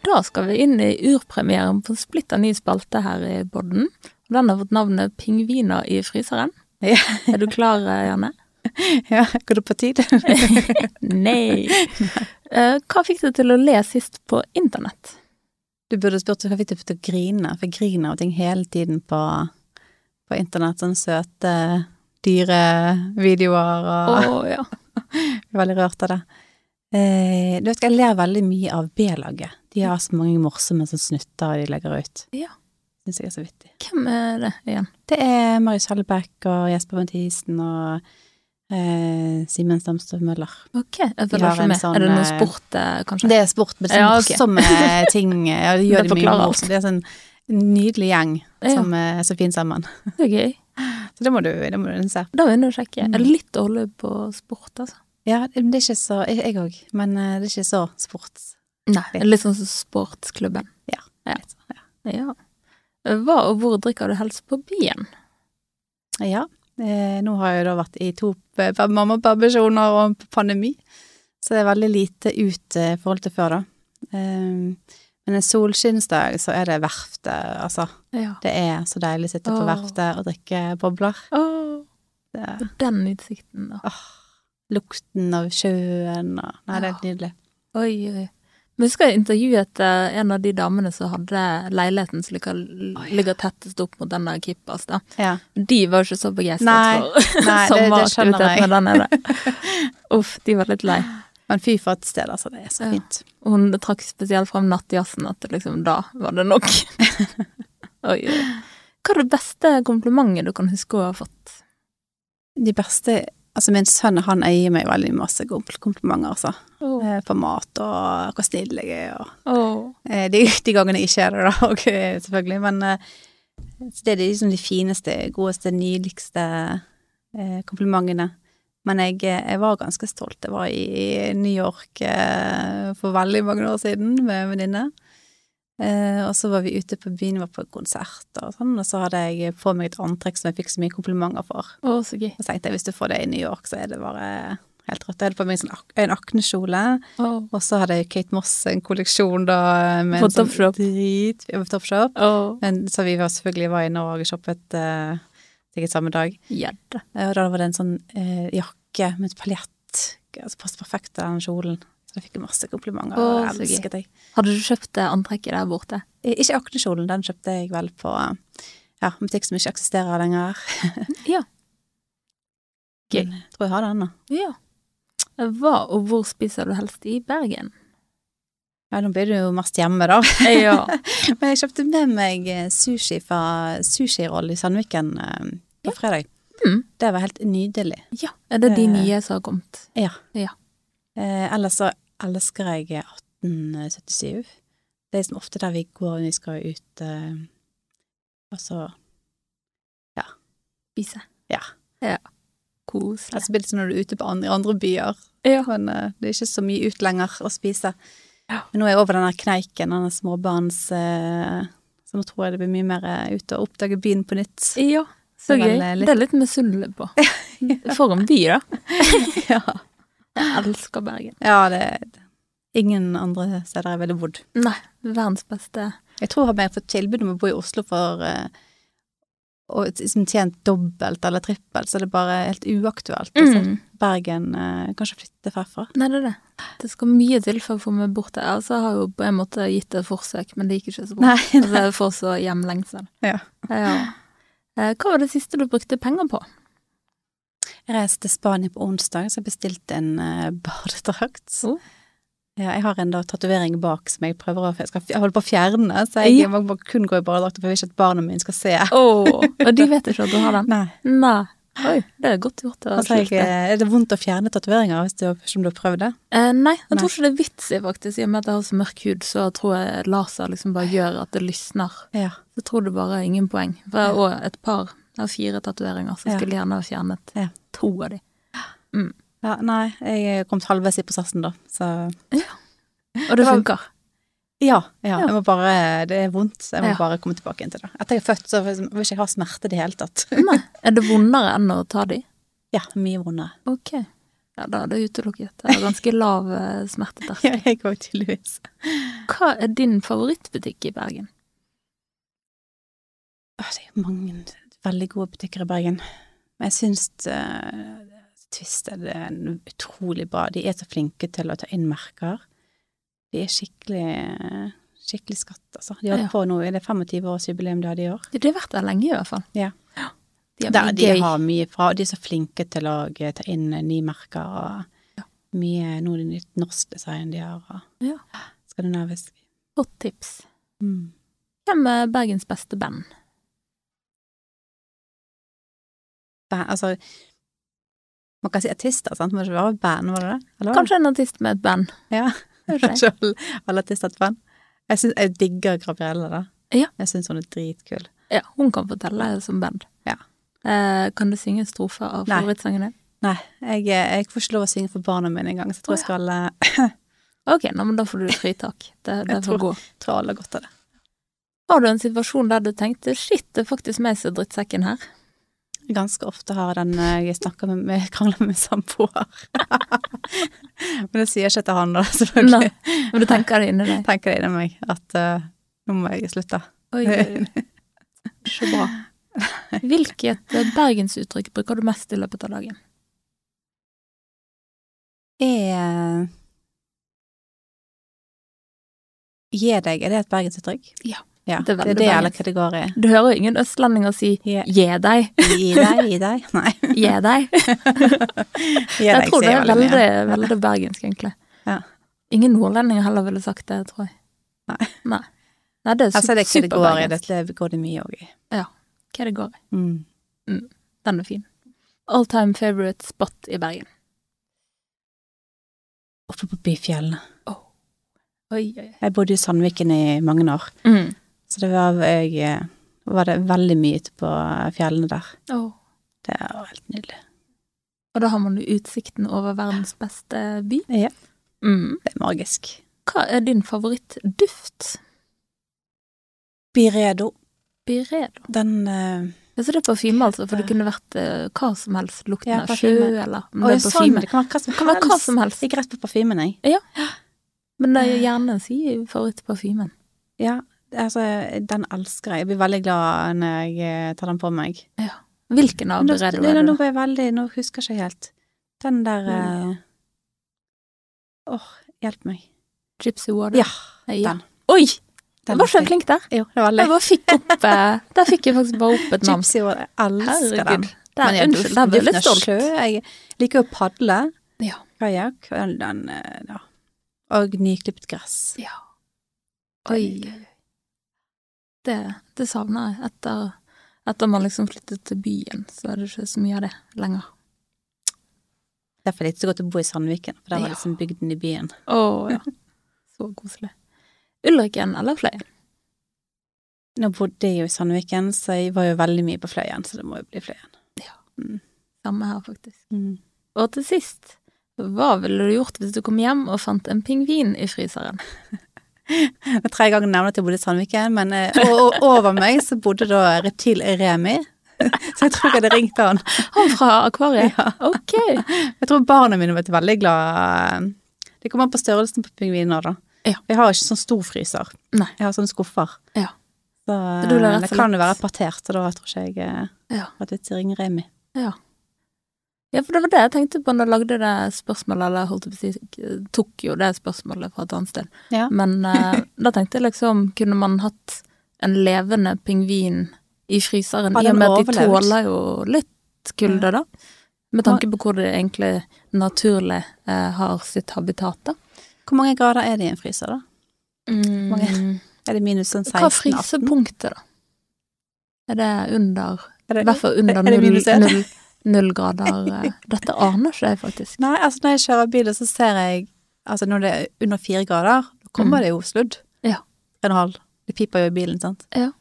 [SPEAKER 1] Da skal vi inn i urpremieren på en splitter ny spalte her i Bodden. Og Den har fått navnet Pingviner i fryseren.
[SPEAKER 2] Ja.
[SPEAKER 1] Er du klar, Janne?
[SPEAKER 2] Ja, går det på tid?
[SPEAKER 1] Nei. Eh, Hva fikk du til å le sist på internett?
[SPEAKER 2] Du burde spurt hva fikk deg til å grine, for jeg griner av ting hele tiden på, på internett. Sånne søte, dyre videoer
[SPEAKER 1] Å
[SPEAKER 2] og
[SPEAKER 1] ja.
[SPEAKER 2] jeg er Veldig rørt av det. Eh, du vet, jeg ler veldig mye av B-laget. De har så mange morsomme sånn snutter de legger ut.
[SPEAKER 1] Ja.
[SPEAKER 2] Syns jeg er så vittig.
[SPEAKER 1] Hvem er det igjen?
[SPEAKER 2] Det er Mari Kjellbæk og Jesper Mathisen og eh, Simen Stamstøv Møller.
[SPEAKER 1] Ok, jeg
[SPEAKER 2] Vi
[SPEAKER 1] følger
[SPEAKER 2] har
[SPEAKER 1] ikke
[SPEAKER 2] en
[SPEAKER 1] med.
[SPEAKER 2] sånn,
[SPEAKER 1] er det noe
[SPEAKER 2] eh,
[SPEAKER 1] sport, eh, kanskje?
[SPEAKER 2] Det er sport, men det er
[SPEAKER 1] Ja, ok.
[SPEAKER 2] morsomme ting. eh, Ja, det
[SPEAKER 1] Det
[SPEAKER 2] gjør det, mye
[SPEAKER 1] forklarer alt.
[SPEAKER 2] morsomt. Det er sånn nydelig gjeng
[SPEAKER 1] Ja.
[SPEAKER 2] som er så fin sammen.
[SPEAKER 1] Det er gøy.
[SPEAKER 2] Så det må du, det må du se.
[SPEAKER 1] Da er vi inne og sjekker.
[SPEAKER 2] Mm.
[SPEAKER 1] Er det litt dårlig på sport, altså?
[SPEAKER 2] Ja, det det er ikke så Jeg òg, men eh, det er ikke så sports.
[SPEAKER 1] Nei. det er Litt sånn som sportsklubben.
[SPEAKER 2] Ja,
[SPEAKER 1] Ja.
[SPEAKER 2] litt sånn,
[SPEAKER 1] ja. Hva og hvor drikker du helst på byen?
[SPEAKER 2] Ja. Eh, nå har jeg jo da vært i to p- p- mammapermisjoner og pandemi, så det er veldig lite ut eh, i forhold til før, da. Eh, men en solskinnsdag, så er det verftet, altså.
[SPEAKER 1] Ja.
[SPEAKER 2] Det er så deilig å sitte på
[SPEAKER 1] Åh.
[SPEAKER 2] verftet og drikke bobler.
[SPEAKER 1] Åh,
[SPEAKER 2] Det er,
[SPEAKER 1] og den utsikten, da.
[SPEAKER 2] åh, lukten av sjøen og Nei, det er nydelig.
[SPEAKER 1] Oi, oi. Men husker jeg intervjuet eh, en av de damene som hadde leiligheten som ligger, ligger tettest opp mot den der Kippas, da.
[SPEAKER 2] Ja.
[SPEAKER 1] De var jo ikke så
[SPEAKER 2] Nei,
[SPEAKER 1] begeistret for
[SPEAKER 2] Nei, det, det skjønner jeg.
[SPEAKER 1] sommeraktivitetene der nede. Uff, de var litt lei.
[SPEAKER 2] Men fy for et sted, altså. Det er så
[SPEAKER 1] Ja.
[SPEAKER 2] fint.
[SPEAKER 1] Og hun trakk spesielt fram nattjazzen, at det liksom da var det nok. Oi, oi. Hva er det beste komplimentet du kan huske å ha fått?
[SPEAKER 2] De beste Altså, min sønn, han eier meg veldig masse kompl- komplimenter, altså.
[SPEAKER 1] Åh,
[SPEAKER 2] Eh, På mat og hvor snill jeg er og
[SPEAKER 1] åh.
[SPEAKER 2] eh, De, de gangene jeg ikke er det, da, og eh, selvfølgelig, men eh, så Det er de- liksom de fineste, godeste, nydeligste eh, komplimentene. Men jeg, eh, jeg var ganske stolt. Jeg var i New York eh, for veldig mange år siden med en venninne. Eh, og så var vi ute på byen, var på konsert og sånn, og så hadde jeg på meg et antrekk som jeg fikk så mye komplimenter for.
[SPEAKER 1] Åh, så gøy.
[SPEAKER 2] Og så tenkte jeg hvis du får det i New York, så er det bare helt rått. Jeg hadde på meg sånn ak en aknekjole,
[SPEAKER 1] Åh.
[SPEAKER 2] og så hadde jeg Kate Moss en kolleksjon da med
[SPEAKER 1] På
[SPEAKER 2] en sånn
[SPEAKER 1] Topshop.
[SPEAKER 2] drit ja, på Topshop.
[SPEAKER 1] Åh,
[SPEAKER 2] Men så vi var selvfølgelig var i Norge og shoppet eh, sikkert samme dag.
[SPEAKER 1] gjedde.
[SPEAKER 2] Eh, Og da var det en sånn eh, jakke med et paljett som passet perfekt til den kjolen. Så jeg fikk masse komplimenter, og
[SPEAKER 1] Å, så
[SPEAKER 2] det
[SPEAKER 1] gøy.
[SPEAKER 2] elsket jeg.
[SPEAKER 1] Hadde du kjøpt det antrekket der borte?
[SPEAKER 2] Eh, Ikke aknekjolen, den kjøpte jeg vel på eh, ja, en butikk som ikke eksisterer lenger.
[SPEAKER 1] Ja. Gøy.
[SPEAKER 2] Men Jeg tror jeg har den nå.
[SPEAKER 1] Ja. Hva og hvor spiser du helst i Bergen?
[SPEAKER 2] Ja, nå blir det jo mest hjemme, da.
[SPEAKER 1] Ja.
[SPEAKER 2] Men jeg kjøpte med meg eh, sushi fra Sushiroll i Sandviken eh, på fredag.
[SPEAKER 1] Mm.
[SPEAKER 2] Det var helt nydelig.
[SPEAKER 1] ja. Er det de
[SPEAKER 2] Eh.
[SPEAKER 1] nye som har kommet?
[SPEAKER 2] Ja.
[SPEAKER 1] Ja.
[SPEAKER 2] Eh, ellers så elsker jeg 1877. Det er liksom ofte der vi går når vi skal ut eh, altså, og så
[SPEAKER 1] Spise.
[SPEAKER 2] Ja.
[SPEAKER 1] Koselig.
[SPEAKER 2] Altså blir det sånn når du er ute på andre, i andre byer,
[SPEAKER 1] Ja.
[SPEAKER 2] men eh, det er ikke så mye ut lenger å spise.
[SPEAKER 1] Ja.
[SPEAKER 2] Men nå er jeg over den der kneiken, den der småbarns... Eh, så nå tror jeg det blir mye mer eh, ute og oppdage byen på nytt.
[SPEAKER 1] Ja, så
[SPEAKER 2] Det er
[SPEAKER 1] gøy.
[SPEAKER 2] vel, eh, litt-
[SPEAKER 1] Det er litt misunnelig på. For en by, da.
[SPEAKER 2] ja.
[SPEAKER 1] Jeg elsker Bergen.
[SPEAKER 2] Ja, det Ingen andre steder jeg ville bodd.
[SPEAKER 1] Nei, verdens beste.
[SPEAKER 2] Jeg tror jeg har fått tilbud om å bo i Oslo for eh, og liksom tjent dobbelt eller trippelt, så det er bare helt uaktuelt. Altså.
[SPEAKER 1] Mm.
[SPEAKER 2] Bergen eh, Kanskje flytte herfra.
[SPEAKER 1] Nei, det er det. Det skal mye til for å få meg bort der. Altså, jeg har jo på en måte gitt det et forsøk, men det gikk ikke så bra.
[SPEAKER 2] Nei.
[SPEAKER 1] Altså, jeg får så hjemlengsel.
[SPEAKER 2] Ja.
[SPEAKER 1] Ja. Eh, Hva var det siste du brukte penger på?
[SPEAKER 2] Jeg reiste til Spania på onsdag, så jeg bestilte en eh, badedrakt.
[SPEAKER 1] Oh.
[SPEAKER 2] Ja, jeg har en da tatovering bak som jeg prøver å jeg, skal, jeg holder på å fjerne, så jeg
[SPEAKER 1] Ja.
[SPEAKER 2] må bare kun gå i badedrakt, for jeg vil ikke at barna mine skal se.
[SPEAKER 1] Åh, og de vet ikke at du har den?
[SPEAKER 2] Nei.
[SPEAKER 1] Nei. Oi, det er godt gjort å
[SPEAKER 2] Altså, jeg,
[SPEAKER 1] slutte.
[SPEAKER 2] er det vondt å fjerne tatoveringer hvis du, hvis du har prøvd det?
[SPEAKER 1] Eh, nei, jeg
[SPEAKER 2] Nei.
[SPEAKER 1] tror ikke det er vits i, faktisk. I og med at jeg har så mørk hud, så tror jeg laser liksom bare gjør at det lysner.
[SPEAKER 2] Ja.
[SPEAKER 1] Så tror du bare er ingen poeng. For jeg har også et par, jeg har fire tatoveringer, så jeg
[SPEAKER 2] Ja.
[SPEAKER 1] skulle gjerne ha fjernet
[SPEAKER 2] Ja.
[SPEAKER 1] to av de.
[SPEAKER 2] Ja, nei, jeg er kommet halvveis i prosessen da, så
[SPEAKER 1] Og det
[SPEAKER 2] var-
[SPEAKER 1] funker.
[SPEAKER 2] ja, ja,
[SPEAKER 1] Ja.
[SPEAKER 2] jeg må bare, det er vondt, så jeg må
[SPEAKER 1] Ja.
[SPEAKER 2] bare komme tilbake inn til det. Etter jeg er født, så vil jeg ikke ha smerte i det hele tatt.
[SPEAKER 1] Nei. Er det vondere enn å ta de?
[SPEAKER 2] Ja, mye vondere.
[SPEAKER 1] Ok. Ja, da er det utelukket. Det er ganske lav eh, smerteterskel.
[SPEAKER 2] Ja, jeg går tydeligvis.
[SPEAKER 1] Hva er din favorittbutikk i Bergen?
[SPEAKER 2] Åh, det er jo mange veldig gode butikker i Bergen. Men jeg synes eh, Twist er det en utrolig bra. De er så flinke til å ta inn merker. De er skikkelig, skikkelig skatt, altså. De har
[SPEAKER 1] Ja.
[SPEAKER 2] på nå, er det 25 års jubileum de hadde i år?
[SPEAKER 1] Det har vært der lenge, i hvert fall.
[SPEAKER 2] Ja.
[SPEAKER 1] De
[SPEAKER 2] Der,
[SPEAKER 1] har
[SPEAKER 2] de
[SPEAKER 1] mye gøy.
[SPEAKER 2] har mye bra, og de er så flinke til å eh, ta inn eh, nye merker og mye noe nytt norsk design de har, og
[SPEAKER 1] Ja.
[SPEAKER 2] skandinavisk.
[SPEAKER 1] Godt tips.
[SPEAKER 2] Mm.
[SPEAKER 1] Hvem er Bergens beste band?
[SPEAKER 2] Ba- Altså, Man kan si artister, sant? Må det ikke være band, var det det? Eller var det-
[SPEAKER 1] Kanskje en artist med et band.
[SPEAKER 2] Ja.
[SPEAKER 1] Hør seg.
[SPEAKER 2] Kanskje alle- alle artister har et band. Jeg, synes, jeg digger Gabriella, da.
[SPEAKER 1] Ja.
[SPEAKER 2] Jeg syns hun er dritkul.
[SPEAKER 1] Ja, hun kan fortelle som band.
[SPEAKER 2] Ja.
[SPEAKER 1] Eh, kan du synge en strofe av
[SPEAKER 2] Nei.
[SPEAKER 1] favorittsangen din?
[SPEAKER 2] Nei, jeg, eh, jeg får ikke lov å synge for barna mine engang, så jeg tror jeg skal eh,
[SPEAKER 1] Ok, nå, men da får du fritak. Det, det får
[SPEAKER 2] tror-
[SPEAKER 1] gå.
[SPEAKER 2] tror alle har godt av det.
[SPEAKER 1] Har du en situasjon der du tenkte 'shit, det er faktisk meg som er drittsekken her'?
[SPEAKER 2] Ganske ofte har den eh, jeg snakker med, med krangler med min samboer. Men det sier jeg ikke til han, da, selvfølgelig.
[SPEAKER 1] Nei. Men du tenker det inni deg?
[SPEAKER 2] Tenker det inni meg at eh, nå må jeg slutte.
[SPEAKER 1] Oi, oi, oi. så bra. Hvilket eh, bergensuttrykk bruker du mest i løpet av dagen?
[SPEAKER 2] Er Gi deg, er det et bergensuttrykk?
[SPEAKER 1] Ja,
[SPEAKER 2] ja.
[SPEAKER 1] det er
[SPEAKER 2] Det
[SPEAKER 1] veldig
[SPEAKER 2] er det eller kategori.
[SPEAKER 1] Du hører jo ingen østlendinger si
[SPEAKER 2] Gi
[SPEAKER 1] 'gi deg',
[SPEAKER 2] gi deg, gi deg. Nei.
[SPEAKER 1] 'gi deg'.
[SPEAKER 2] Gi
[SPEAKER 1] Jeg
[SPEAKER 2] deg,
[SPEAKER 1] tror det
[SPEAKER 2] sier
[SPEAKER 1] er
[SPEAKER 2] veldig mye.
[SPEAKER 1] veldig, veldig bergensk, egentlig.
[SPEAKER 2] Ja.
[SPEAKER 1] Ingen nordlendinger heller ville sagt det, tror jeg.
[SPEAKER 2] Nei.
[SPEAKER 1] Nei, Nei det er
[SPEAKER 2] Her er Altså, det
[SPEAKER 1] su-
[SPEAKER 2] kategori,
[SPEAKER 1] superbergensk.
[SPEAKER 2] dette går det mye òg i.
[SPEAKER 1] Hva det går i.
[SPEAKER 2] Mm.
[SPEAKER 1] Den er fin. All time favorite spot i Bergen.
[SPEAKER 2] Oppe på Byfjell.
[SPEAKER 1] Oi, oi, oi.
[SPEAKER 2] Jeg bodde i Sandviken i mange år.
[SPEAKER 1] Mm.
[SPEAKER 2] Så det var, jeg, eh, var det veldig mye ute på eh, fjellene der.
[SPEAKER 1] Åh.
[SPEAKER 2] Det var helt nydelig.
[SPEAKER 1] Og da har man jo utsikten over verdens beste by.
[SPEAKER 2] Ja.
[SPEAKER 1] Mm.
[SPEAKER 2] Det er magisk.
[SPEAKER 1] Hva er din favorittduft?
[SPEAKER 2] Byredo.
[SPEAKER 1] Byredo.
[SPEAKER 2] Den eh,
[SPEAKER 1] Ja, så det er parfyme, altså, for det kunne vært eh, hva som helst. Lukten
[SPEAKER 2] Ja,
[SPEAKER 1] av sjø,
[SPEAKER 2] parfyme.
[SPEAKER 1] eller
[SPEAKER 2] Å,
[SPEAKER 1] men det er
[SPEAKER 2] ja, sånn.
[SPEAKER 1] parfyme.
[SPEAKER 2] Det kan være hva som
[SPEAKER 1] Det kan være hva som helst.
[SPEAKER 2] Gikk rett på parfymen, jeg.
[SPEAKER 1] Men det er
[SPEAKER 2] Eh.
[SPEAKER 1] jo gjerne si favorittparfymen.
[SPEAKER 2] Ja, altså, den elsker jeg. Jeg blir veldig glad når jeg eh, tar den på meg.
[SPEAKER 1] Hvilken av
[SPEAKER 2] Men da-
[SPEAKER 1] Byredo
[SPEAKER 2] nei,
[SPEAKER 1] er
[SPEAKER 2] nå
[SPEAKER 1] det?
[SPEAKER 2] ble jeg veldig Nå husker jeg ikke helt. Den der eh, Åh, hjelp meg.
[SPEAKER 1] Gypsy Water?
[SPEAKER 2] Ja,
[SPEAKER 1] Ja.
[SPEAKER 2] den.
[SPEAKER 1] Oi!
[SPEAKER 2] den
[SPEAKER 1] Jeg var så
[SPEAKER 2] likte jeg.
[SPEAKER 1] flink der.
[SPEAKER 2] Jo, det var
[SPEAKER 1] Jeg
[SPEAKER 2] veldig
[SPEAKER 1] bare fikk opp eh, Der fikk jeg faktisk bare opp et navn.
[SPEAKER 2] Gypsy var Jeg elsker den.
[SPEAKER 1] Herregud. Der,
[SPEAKER 2] jeg,
[SPEAKER 1] unnskyld, der ble jeg litt stolt.
[SPEAKER 2] sjø. Jeg liker å padle.
[SPEAKER 1] Ja.
[SPEAKER 2] Kajakk. og Den, den, eh, ja. Og nyklipt gress.
[SPEAKER 1] Ja. Oi. oi, oi. Det, det savner jeg. Etter, etter man liksom flyttet til byen, så er det ikke så mye av det lenger.
[SPEAKER 2] Derfor likte jeg godt å bo i Sandviken, for der var
[SPEAKER 1] Ja.
[SPEAKER 2] liksom bygden i byen.
[SPEAKER 1] Å ja. Så koselig. Ulriken eller Fløyen?
[SPEAKER 2] Nå bodde jeg jo i Sandviken, så jeg var jo veldig mye på Fløyen, så det må jo bli Fløyen.
[SPEAKER 1] Samme her, faktisk. Og til sist, hva ville du gjort hvis du kom hjem og fant en pingvin i fryseren?
[SPEAKER 2] Det er tredje gangen jeg nevner at jeg bodde i Sandviken, men eh, og, og over meg så bodde da reptil Remi. Så jeg tror jeg hadde ringt han.
[SPEAKER 1] Han fra akvariet?
[SPEAKER 2] Ja.
[SPEAKER 1] Ok.
[SPEAKER 2] Jeg tror barna mine var veldig glad. eh, Det kommer an på størrelsen på pingviner, da.
[SPEAKER 1] Ja.
[SPEAKER 2] Jeg har ikke sånn stor fryser.
[SPEAKER 1] Nei.
[SPEAKER 2] Jeg har sånne skuffer.
[SPEAKER 1] Ja.
[SPEAKER 2] Så, eh,
[SPEAKER 1] Så da blir det rett og
[SPEAKER 2] det kan
[SPEAKER 1] slett-
[SPEAKER 2] jo være partert, så da tror ikke jeg eh,
[SPEAKER 1] Ja.
[SPEAKER 2] at vi til ringer Remi.
[SPEAKER 1] Ja, for det var det jeg tenkte på når jeg lagde det spørsmålet, eller holdt jeg på å si, tok jo det spørsmålet fra et annet sted.
[SPEAKER 2] Ja.
[SPEAKER 1] Men eh, da tenkte jeg liksom, kunne man hatt en levende pingvin i fryseren?
[SPEAKER 2] Har
[SPEAKER 1] I og
[SPEAKER 2] den Mm.
[SPEAKER 1] med at de
[SPEAKER 2] overlevd?
[SPEAKER 1] tåler jo litt kulde, da. Med tanke på hvor det egentlig naturlig eh, har sitt habitat, da.
[SPEAKER 2] Hvor mange grader er det i en fryser, da? Mm. Mange- Er det minus sånn 16?
[SPEAKER 1] Hva fryser
[SPEAKER 2] 18?
[SPEAKER 1] punktet, da? Er det under I
[SPEAKER 2] Er det-
[SPEAKER 1] hvert fall under
[SPEAKER 2] er det
[SPEAKER 1] null,
[SPEAKER 2] minus en?
[SPEAKER 1] null, null grader eh. Dette aner ikke jeg, faktisk.
[SPEAKER 2] Nei, altså når jeg kjører bil, så ser jeg Altså når det er under fire grader, da kommer
[SPEAKER 1] Mm.
[SPEAKER 2] det jo sludd.
[SPEAKER 1] Ja.
[SPEAKER 2] En halv. Det piper jo i bilen, sant.
[SPEAKER 1] Ja,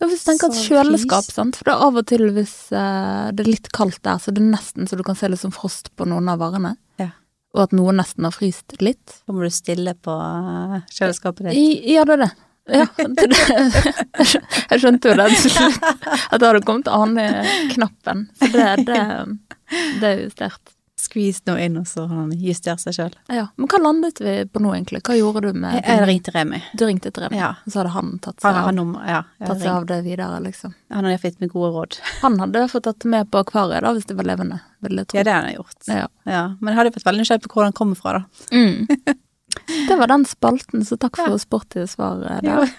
[SPEAKER 1] Hvis du tenker at
[SPEAKER 2] Så
[SPEAKER 1] kjøleskap,
[SPEAKER 2] frys.
[SPEAKER 1] sant? for det er av og til hvis eh, det er litt kaldt der, så det er nesten så du kan se litt sånn frost på noen av varene,
[SPEAKER 2] Ja.
[SPEAKER 1] og at noen nesten har fryst litt.
[SPEAKER 2] Da må du stille på eh, kjøleskapet ditt.
[SPEAKER 1] I, ja, det er det. Ja, det, jeg skjø- jeg skjønte jo det til slutt, at det hadde kommet ane-knappen, for det, det, det er jo sterkt.
[SPEAKER 2] Skvis nå inn, og så har han justert seg sjøl.
[SPEAKER 1] Ja, men hva landet vi på nå egentlig? Hva gjorde du med
[SPEAKER 2] Jeg, jeg ringte Remi.
[SPEAKER 1] Du ringte til Remi,
[SPEAKER 2] Ja.
[SPEAKER 1] og så hadde han tatt
[SPEAKER 2] Han
[SPEAKER 1] seg
[SPEAKER 2] har
[SPEAKER 1] av,
[SPEAKER 2] nummer, ja. jeg
[SPEAKER 1] tatt seg
[SPEAKER 2] ringte.
[SPEAKER 1] av det videre, liksom.
[SPEAKER 2] Han har iallfall gitt meg gode råd.
[SPEAKER 1] Han hadde i hvert fall tatt det med på akvariet da, hvis det var levende, vil jeg tro.
[SPEAKER 2] Ja, det har han gjort.
[SPEAKER 1] Ja.
[SPEAKER 2] Ja. Men jeg hadde vært veldig nysgjerrig på hvor han kommer fra, da.
[SPEAKER 1] Mm. Det var den spalten, så takk for sporty svar eh, der.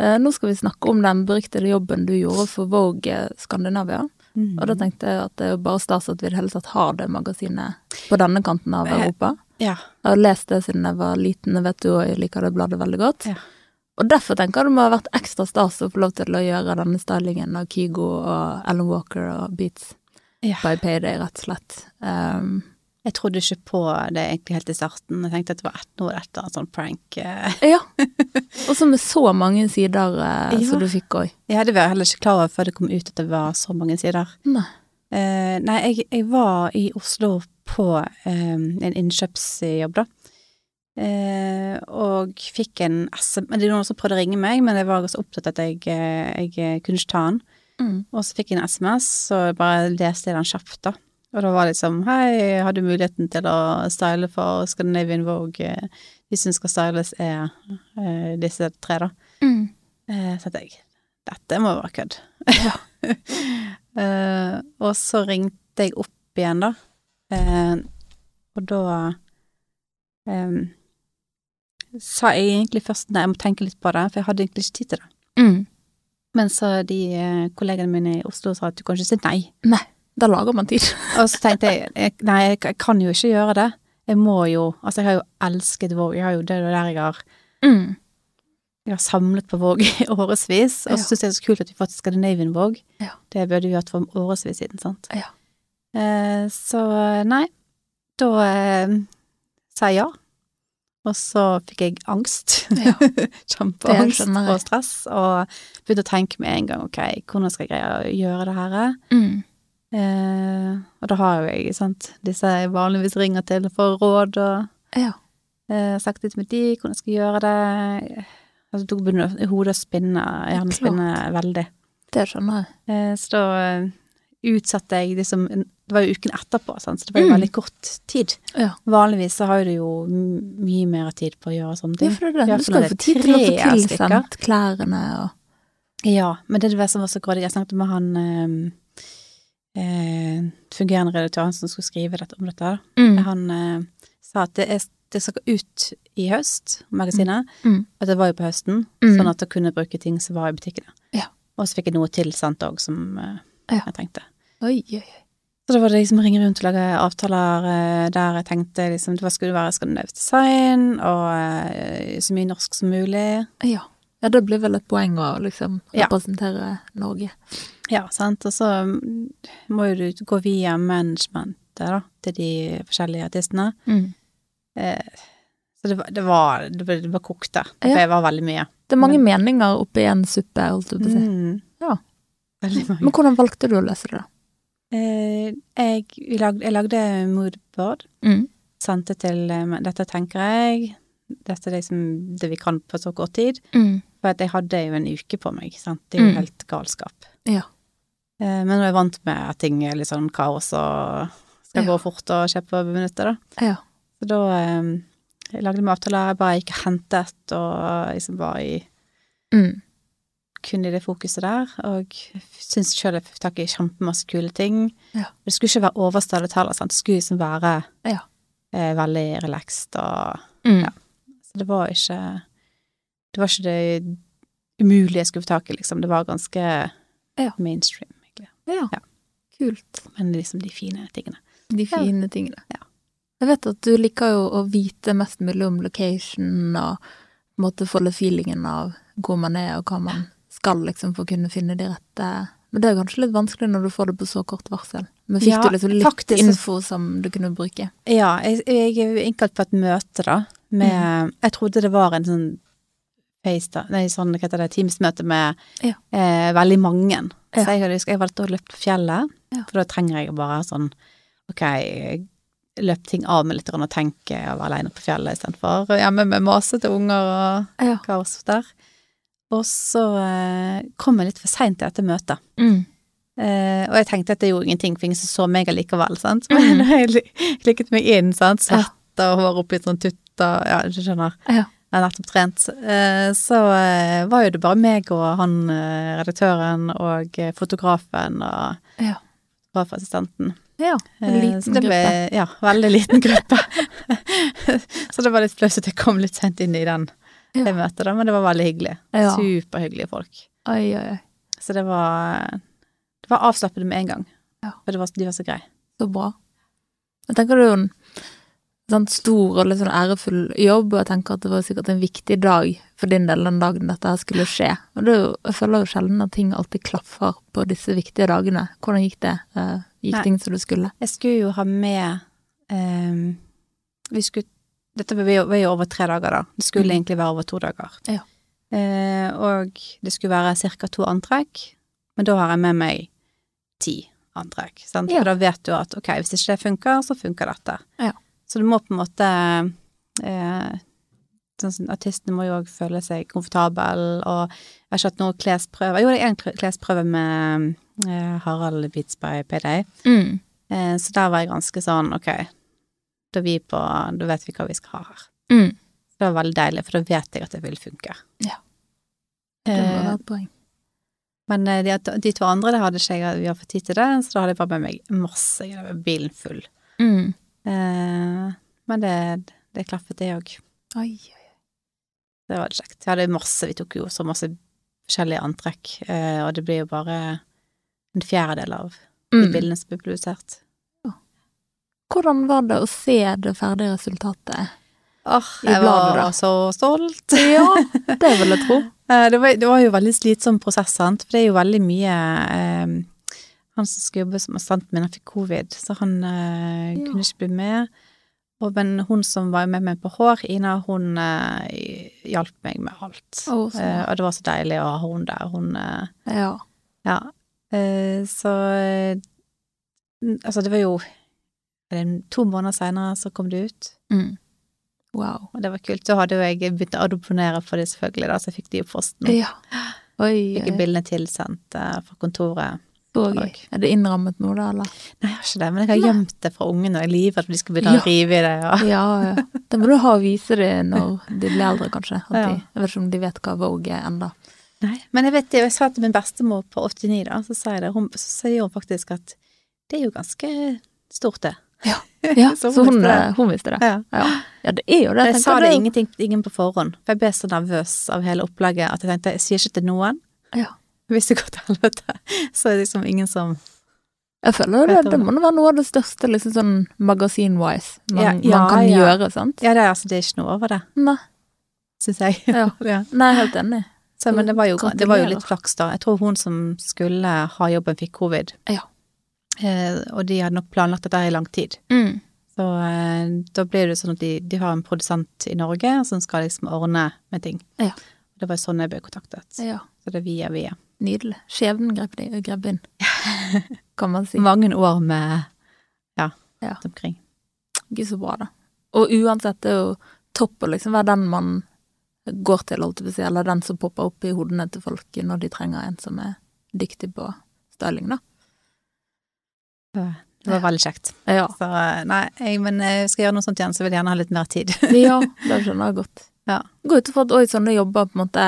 [SPEAKER 1] Eh, Nå skal vi snakke om den beryktede jobben du gjorde for Vogue eh, Skandinavia.
[SPEAKER 2] Mm.
[SPEAKER 1] Og da tenkte jeg at det er jo bare stas at vi i det hele tatt har det magasinet på denne kanten av
[SPEAKER 2] Eh.
[SPEAKER 1] Europa.
[SPEAKER 2] Ja.
[SPEAKER 1] Jeg har lest det siden jeg var liten, jeg vet du, og jeg liker det bladet veldig godt.
[SPEAKER 2] Ja.
[SPEAKER 1] Og derfor tenker jeg det må ha vært ekstra stas å få lov til å gjøre denne stylingen av Kygo og Alan Walker og Beats.
[SPEAKER 2] Ja.
[SPEAKER 1] by payday, rett og slett. Um,
[SPEAKER 2] Jeg trodde ikke på det egentlig helt i starten. Jeg tenkte at det var et, noe etter en sånn prank. eh.
[SPEAKER 1] ja. Og så med så mange sider eh,
[SPEAKER 2] Ja.
[SPEAKER 1] som du fikk òg.
[SPEAKER 2] Jeg hadde vært heller ikke klar over før det kom ut at det var så mange sider.
[SPEAKER 1] Nei.
[SPEAKER 2] Eh, nei, jeg, jeg var i Oslo på eh, en innkjøpsjobb, da. Eh, og fikk en SM... Det er noen som prøvde å ringe meg, men jeg var så opptatt at jeg, eh, jeg kunne ikke ta den.
[SPEAKER 1] Mm.
[SPEAKER 2] Og så fikk jeg en SMS, så jeg bare leste jeg den kjapt, da. Og da var det liksom Hei, har du muligheten til å style for Scandinavian Vogue? Eh, De som skal styles, er eh, disse tre, da.
[SPEAKER 1] Mm.
[SPEAKER 2] Eh, Så tenkte jeg dette må være kødd. eh, og så ringte jeg opp igjen, da. Eh, og da eh, sa jeg egentlig først nei, jeg må tenke litt på det, for jeg hadde egentlig ikke tid til det.
[SPEAKER 1] Mm.
[SPEAKER 2] Men så de eh, kollegene mine i Oslo sa at du kan ikke si nei.
[SPEAKER 1] Da lager man tid.
[SPEAKER 2] Og så tenkte jeg jeg- nei, jeg, jeg kan jo ikke gjøre det. Jeg må jo Altså, jeg har jo elsket Vogue. Jeg har jo det er jo der jeg har
[SPEAKER 1] Mm.
[SPEAKER 2] jeg har samlet på Vogue i årevis, og
[SPEAKER 1] Ja.
[SPEAKER 2] så syns jeg det er så kult at vi fått Scandinavian Vogue.
[SPEAKER 1] Ja.
[SPEAKER 2] Det burde vi hatt for årevis siden, sant.
[SPEAKER 1] Ja.
[SPEAKER 2] Eh, så nei, da eh, sa jeg ja. Og så fikk jeg angst.
[SPEAKER 1] Ja. Det
[SPEAKER 2] Kjempeangst
[SPEAKER 1] skjønner jeg.
[SPEAKER 2] og stress, og begynte å tenke med en gang ok, hvordan skal jeg greie å gjøre det her?
[SPEAKER 1] Mm.
[SPEAKER 2] Eh, og da har jo jeg sant, disse jeg vanligvis ringer til for råd, og
[SPEAKER 1] Ja.
[SPEAKER 2] eh, sagt litt med de, hvordan jeg skal gjøre det. Altså, da begynner hodet å spinne, hjernen
[SPEAKER 1] klart.
[SPEAKER 2] spinner veldig.
[SPEAKER 1] Det skjønner jeg.
[SPEAKER 2] Eh, så da eh, utsatte jeg liksom Det var jo uken etterpå, sant? så det var jo
[SPEAKER 1] Mm.
[SPEAKER 2] veldig kort tid.
[SPEAKER 1] Ja.
[SPEAKER 2] Vanligvis så har du jo m- mye mer tid på å gjøre
[SPEAKER 1] Det
[SPEAKER 2] sånne ting.
[SPEAKER 1] er for det.
[SPEAKER 2] Ja,
[SPEAKER 1] er det. Du
[SPEAKER 2] for
[SPEAKER 1] skal
[SPEAKER 2] det
[SPEAKER 1] jo
[SPEAKER 2] er
[SPEAKER 1] få tid til å få
[SPEAKER 2] tre stykker.
[SPEAKER 1] tilsendt klærne og
[SPEAKER 2] Ja, men det er det som var så grådig. Jeg snakket med han eh, eh, fungerende redaktør, han som skulle skrive dette, om dette. her.
[SPEAKER 1] mm.
[SPEAKER 2] Han eh, sa at det, er, det skal ut i høst, magasinet.
[SPEAKER 1] Mm.
[SPEAKER 2] At det var jo på høsten,
[SPEAKER 1] Mm.
[SPEAKER 2] sånn at jeg kunne bruke ting som var i butikkene.
[SPEAKER 1] Ja.
[SPEAKER 2] Og så fikk jeg noe til sant òg, som eh,
[SPEAKER 1] Ja.
[SPEAKER 2] jeg trengte.
[SPEAKER 1] Oi, oi, oi.
[SPEAKER 2] Så da var det liksom å ringe rundt og lage avtaler eh, der jeg tenkte liksom det skulle være skandinavisk design, og eh, så mye norsk som mulig.
[SPEAKER 1] Ja. ja, det blir vel et poeng å liksom
[SPEAKER 2] Ja.
[SPEAKER 1] representere Norge.
[SPEAKER 2] Ja, sant. Og så mm, må jo du gå via managementet, da, til de forskjellige artistene. Eh, så det var, det var, det ble- det var kokt der.
[SPEAKER 1] Ja.
[SPEAKER 2] Det var veldig mye.
[SPEAKER 1] Det er mange meninger oppi en suppe, holdt jeg på å si.
[SPEAKER 2] Mm.
[SPEAKER 1] Ja.
[SPEAKER 2] Veldig mange.
[SPEAKER 1] Men hvordan valgte du å løse det, da?
[SPEAKER 2] Eh, jeg, vi lagde, jeg lagde moodboard,
[SPEAKER 1] Mm.
[SPEAKER 2] sendte til eh, men Dette tenker jeg. Dette er liksom det vi kan på så kort tid.
[SPEAKER 1] Mm.
[SPEAKER 2] For at jeg hadde jo en uke på meg. Sant? Det er jo
[SPEAKER 1] Mm.
[SPEAKER 2] helt galskap.
[SPEAKER 1] Ja.
[SPEAKER 2] Eh, men nå er jeg vant med at ting er litt sånn kaos og
[SPEAKER 1] Ja.
[SPEAKER 2] skal gå fort og skje på minutter, da.
[SPEAKER 1] Ja.
[SPEAKER 2] Så da eh, jeg lagde vi avtaler. Jeg bare gikk og hentet og liksom var i
[SPEAKER 1] Mm.
[SPEAKER 2] kun i det fokuset der, og syns sjøl jeg fikk tak i kjempemasse kule ting.
[SPEAKER 1] Ja.
[SPEAKER 2] Det skulle ikke være overstadig heller, sant. Det skulle liksom være
[SPEAKER 1] Ja.
[SPEAKER 2] eh, veldig relaxed og
[SPEAKER 1] Mm.
[SPEAKER 2] Ja. Så det var ikke Det var ikke det umulige jeg skulle få tak i, liksom. Det var ganske
[SPEAKER 1] Ja.
[SPEAKER 2] mainstream, egentlig.
[SPEAKER 1] Ja.
[SPEAKER 2] Ja.
[SPEAKER 1] Kult.
[SPEAKER 2] Men liksom de fine tingene.
[SPEAKER 1] De
[SPEAKER 2] Ja.
[SPEAKER 1] fine tingene.
[SPEAKER 2] Ja.
[SPEAKER 1] Jeg vet at du liker jo å vite mest mulig om location og på en måte få litt feelingen av hvor man er og hva man skal liksom for å kunne finne de rette Men det er kanskje litt vanskelig når du får det på så kort varsel. Men fikk
[SPEAKER 2] Ja,
[SPEAKER 1] du liksom litt
[SPEAKER 2] faktisk så-
[SPEAKER 1] info som du kunne bruke?
[SPEAKER 2] Ja, jeg, jeg er jo innkalt på et møte, da, med
[SPEAKER 1] Mm.
[SPEAKER 2] Jeg trodde det var en sånn face da, nei, sånn, hva heter det, Teams-møte med
[SPEAKER 1] Ja.
[SPEAKER 2] eh, veldig mange.
[SPEAKER 1] Ja.
[SPEAKER 2] Så jeg, hadde- jeg valgte å løpe på fjellet,
[SPEAKER 1] Ja.
[SPEAKER 2] for da trenger jeg bare sånn Ok, løp ting av meg litt grann og tenke å være aleine på fjellet istedenfor hjemme med masete unger og
[SPEAKER 1] Ja.
[SPEAKER 2] kaos der. Og så eh, kom jeg litt for seint til dette møtet.
[SPEAKER 1] Mm.
[SPEAKER 2] Eh, og jeg tenkte at det gjorde ingenting, for ingen som så meg allikevel, sant. Men jeg li- klikket meg inn, sant.
[SPEAKER 1] Ja.
[SPEAKER 2] Svett og hår oppi sånn tutt og ja, du skjønner.
[SPEAKER 1] Ja.
[SPEAKER 2] Jeg har nettopp trent. Eh, så eh, var jo det bare meg og han eh, redaktøren og eh, fotografen og
[SPEAKER 1] Ja.
[SPEAKER 2] fotografassistenten.
[SPEAKER 1] Ja, en
[SPEAKER 2] Eh,
[SPEAKER 1] liten
[SPEAKER 2] så det ble-
[SPEAKER 1] gruppe.
[SPEAKER 2] Ja, veldig liten gruppe. så det var litt flaut at jeg kom litt sent inn i den,
[SPEAKER 1] Ja.
[SPEAKER 2] det møtet, da. Men det var veldig hyggelig.
[SPEAKER 1] Ja.
[SPEAKER 2] Superhyggelige folk.
[SPEAKER 1] Oi, oi, oi.
[SPEAKER 2] Så det var, det var avslappende med en gang.
[SPEAKER 1] Ja.
[SPEAKER 2] For det var, de var så greie.
[SPEAKER 1] Så bra. Jeg tenker det er jo en sånn stor og litt sånn ærefull jobb, og jeg tenker at det var sikkert en viktig dag for din del den dagen dette her skulle skje. Og det er jo, jeg føler jo sjelden at ting alltid klaffer på disse viktige dagene. Hvordan gikk det? Eh, Gikk
[SPEAKER 2] Nei.
[SPEAKER 1] ting som du skulle?
[SPEAKER 2] Jeg skulle jo ha med ehm, vi skulle, Dette var jo, var jo over tre dager, da. Det skulle
[SPEAKER 1] Mm.
[SPEAKER 2] egentlig være over to dager.
[SPEAKER 1] Ja.
[SPEAKER 2] Eh, og det skulle være ca. to antrekk, men da har jeg med meg ti antrekk. Sant?
[SPEAKER 1] Ja.
[SPEAKER 2] For da vet du at ok, hvis ikke det funker, så funker dette.
[SPEAKER 1] Ja.
[SPEAKER 2] Så du må på en måte eh, sånn som Artistene må jo òg føle seg komfortabel, og jeg har ikke hatt noen klesprøver. Jo, det er en klesprøve med eh, Harald Beats by Payday.
[SPEAKER 1] Mm.
[SPEAKER 2] Eh, Så der var jeg ganske sånn, ok, da, er vi på, da vet vi hva vi skal ha her.
[SPEAKER 1] Mm.
[SPEAKER 2] Det var veldig deilig, for da vet jeg at det vil funke.
[SPEAKER 1] Ja. Det må
[SPEAKER 2] Eh,
[SPEAKER 1] være et poeng.
[SPEAKER 2] men eh, de, de to andre, det hadde ikke jeg, vi har fått tid til det, så da hadde jeg bare med meg masse greier, med bilen full.
[SPEAKER 1] Mm.
[SPEAKER 2] Eh, men det, det klaffet det òg.
[SPEAKER 1] Oi, oi.
[SPEAKER 2] Det var kjekt. Jeg hadde masse, vi tok jo så masse forskjellige antrekk, eh, og det blir jo bare en fjerdedel av de
[SPEAKER 1] Mm.
[SPEAKER 2] bildene som blir produsert.
[SPEAKER 1] Hvordan var det å se det ferdige resultatet?
[SPEAKER 2] Åh,
[SPEAKER 1] I
[SPEAKER 2] jeg
[SPEAKER 1] bladet, da.
[SPEAKER 2] var så stolt.
[SPEAKER 1] Ja, det vil jeg tro.
[SPEAKER 2] Eh, Det var, det var jo veldig slitsom prosess, sant? for det er jo veldig mye eh, Han som skulle jobbe som assistenten min, han fikk covid, så han eh,
[SPEAKER 1] Ja.
[SPEAKER 2] kunne ikke bli med. Og, men hun som var med meg på hår, Ina, hun eh, hjalp meg med alt.
[SPEAKER 1] Å, så bra.
[SPEAKER 2] Eh, og det var så deilig å ha hun der. Hun eh,
[SPEAKER 1] Ja.
[SPEAKER 2] Ja. Eh, så eh, n- Altså, det var jo er det To måneder seinere så kom det ut.
[SPEAKER 1] Mm. Wow.
[SPEAKER 2] Og det var kult. Så hadde jo jeg begynt å adopsjonere for det, selvfølgelig, da, så jeg fikk de i posten.
[SPEAKER 1] Ja. Oi,
[SPEAKER 2] Fikk
[SPEAKER 1] oi.
[SPEAKER 2] jeg bildene tilsendt eh, fra kontoret.
[SPEAKER 1] Så gøy. Er det innrammet nå, da, eller?
[SPEAKER 2] Nei, jeg har ikke det, men jeg har
[SPEAKER 1] Nei.
[SPEAKER 2] gjemt det fra ungene. og Jeg er livredd for de skal begynne
[SPEAKER 1] Ja.
[SPEAKER 2] å rive i det. Og...
[SPEAKER 1] Ja, ja. Det må du ha og vise det når de blir eldre, kanskje. At
[SPEAKER 2] Ja.
[SPEAKER 1] de, jeg vet ikke om de vet hva Vogue er ennå.
[SPEAKER 2] Men jeg vet det, og jeg sa til min bestemor på 89, da, så sier, det, hun, så sier hun faktisk at det er jo ganske stort, det.
[SPEAKER 1] Ja, så
[SPEAKER 2] Så
[SPEAKER 1] hun,
[SPEAKER 2] hun visste det.
[SPEAKER 1] eh, hun visste det.
[SPEAKER 2] Ja.
[SPEAKER 1] Ja. ja, det er jo det.
[SPEAKER 2] Jeg
[SPEAKER 1] tenker
[SPEAKER 2] sa det
[SPEAKER 1] du.
[SPEAKER 2] ingenting, ingen på forhånd, for jeg ble så nervøs av hele opplegget at jeg tenkte jeg sier ikke til noen.
[SPEAKER 1] Ja.
[SPEAKER 2] Hvis det går til helvete, så er det liksom ingen som
[SPEAKER 1] Jeg føler
[SPEAKER 2] Vet
[SPEAKER 1] det,
[SPEAKER 2] du
[SPEAKER 1] det
[SPEAKER 2] hva?
[SPEAKER 1] må være noe av det største liksom sånn magasin-wise man,
[SPEAKER 2] Ja, ja,
[SPEAKER 1] man kan
[SPEAKER 2] ja.
[SPEAKER 1] gjøre, sant?
[SPEAKER 2] Ja, det er, altså, det er ikke noe over det,
[SPEAKER 1] Nei,
[SPEAKER 2] syns jeg.
[SPEAKER 1] Ja.
[SPEAKER 2] ja.
[SPEAKER 1] nei, helt enig.
[SPEAKER 2] Så, men det var, jo, det var jo
[SPEAKER 1] Gratulerer.
[SPEAKER 2] litt flaks, da. Jeg tror hun som skulle ha jobben, fikk covid.
[SPEAKER 1] Ja.
[SPEAKER 2] Eh, og de hadde nok planlagt dette i lang tid.
[SPEAKER 1] Mm.
[SPEAKER 2] Så eh, da blir det jo sånn at de, de har en produsent i Norge som skal liksom ordne med ting.
[SPEAKER 1] Ja.
[SPEAKER 2] Det var sånn jeg ble kontaktet.
[SPEAKER 1] Ja,
[SPEAKER 2] Så det er via via.
[SPEAKER 1] nydelig. Skjebnen grep, de- grep inn, kan man si.
[SPEAKER 2] Mange år med ja,
[SPEAKER 1] Ja.
[SPEAKER 2] rundt omkring.
[SPEAKER 1] Ikke så bra, da. Og uansett, det er jo topp å liksom være den man går til, holdt jeg på å si, eller den som popper opp i hodene til folk når de trenger en som er dyktig på styling, da.
[SPEAKER 2] Det var veldig kjekt.
[SPEAKER 1] Ja,
[SPEAKER 2] Så eh, nei, jeg, men eh, skal jeg gjøre noe sånt igjen, så vil jeg gjerne ha litt mer tid.
[SPEAKER 1] ja det skjønner jeg godt.
[SPEAKER 2] Ja.
[SPEAKER 1] Gå ut ifra at også sånne jobber på en måte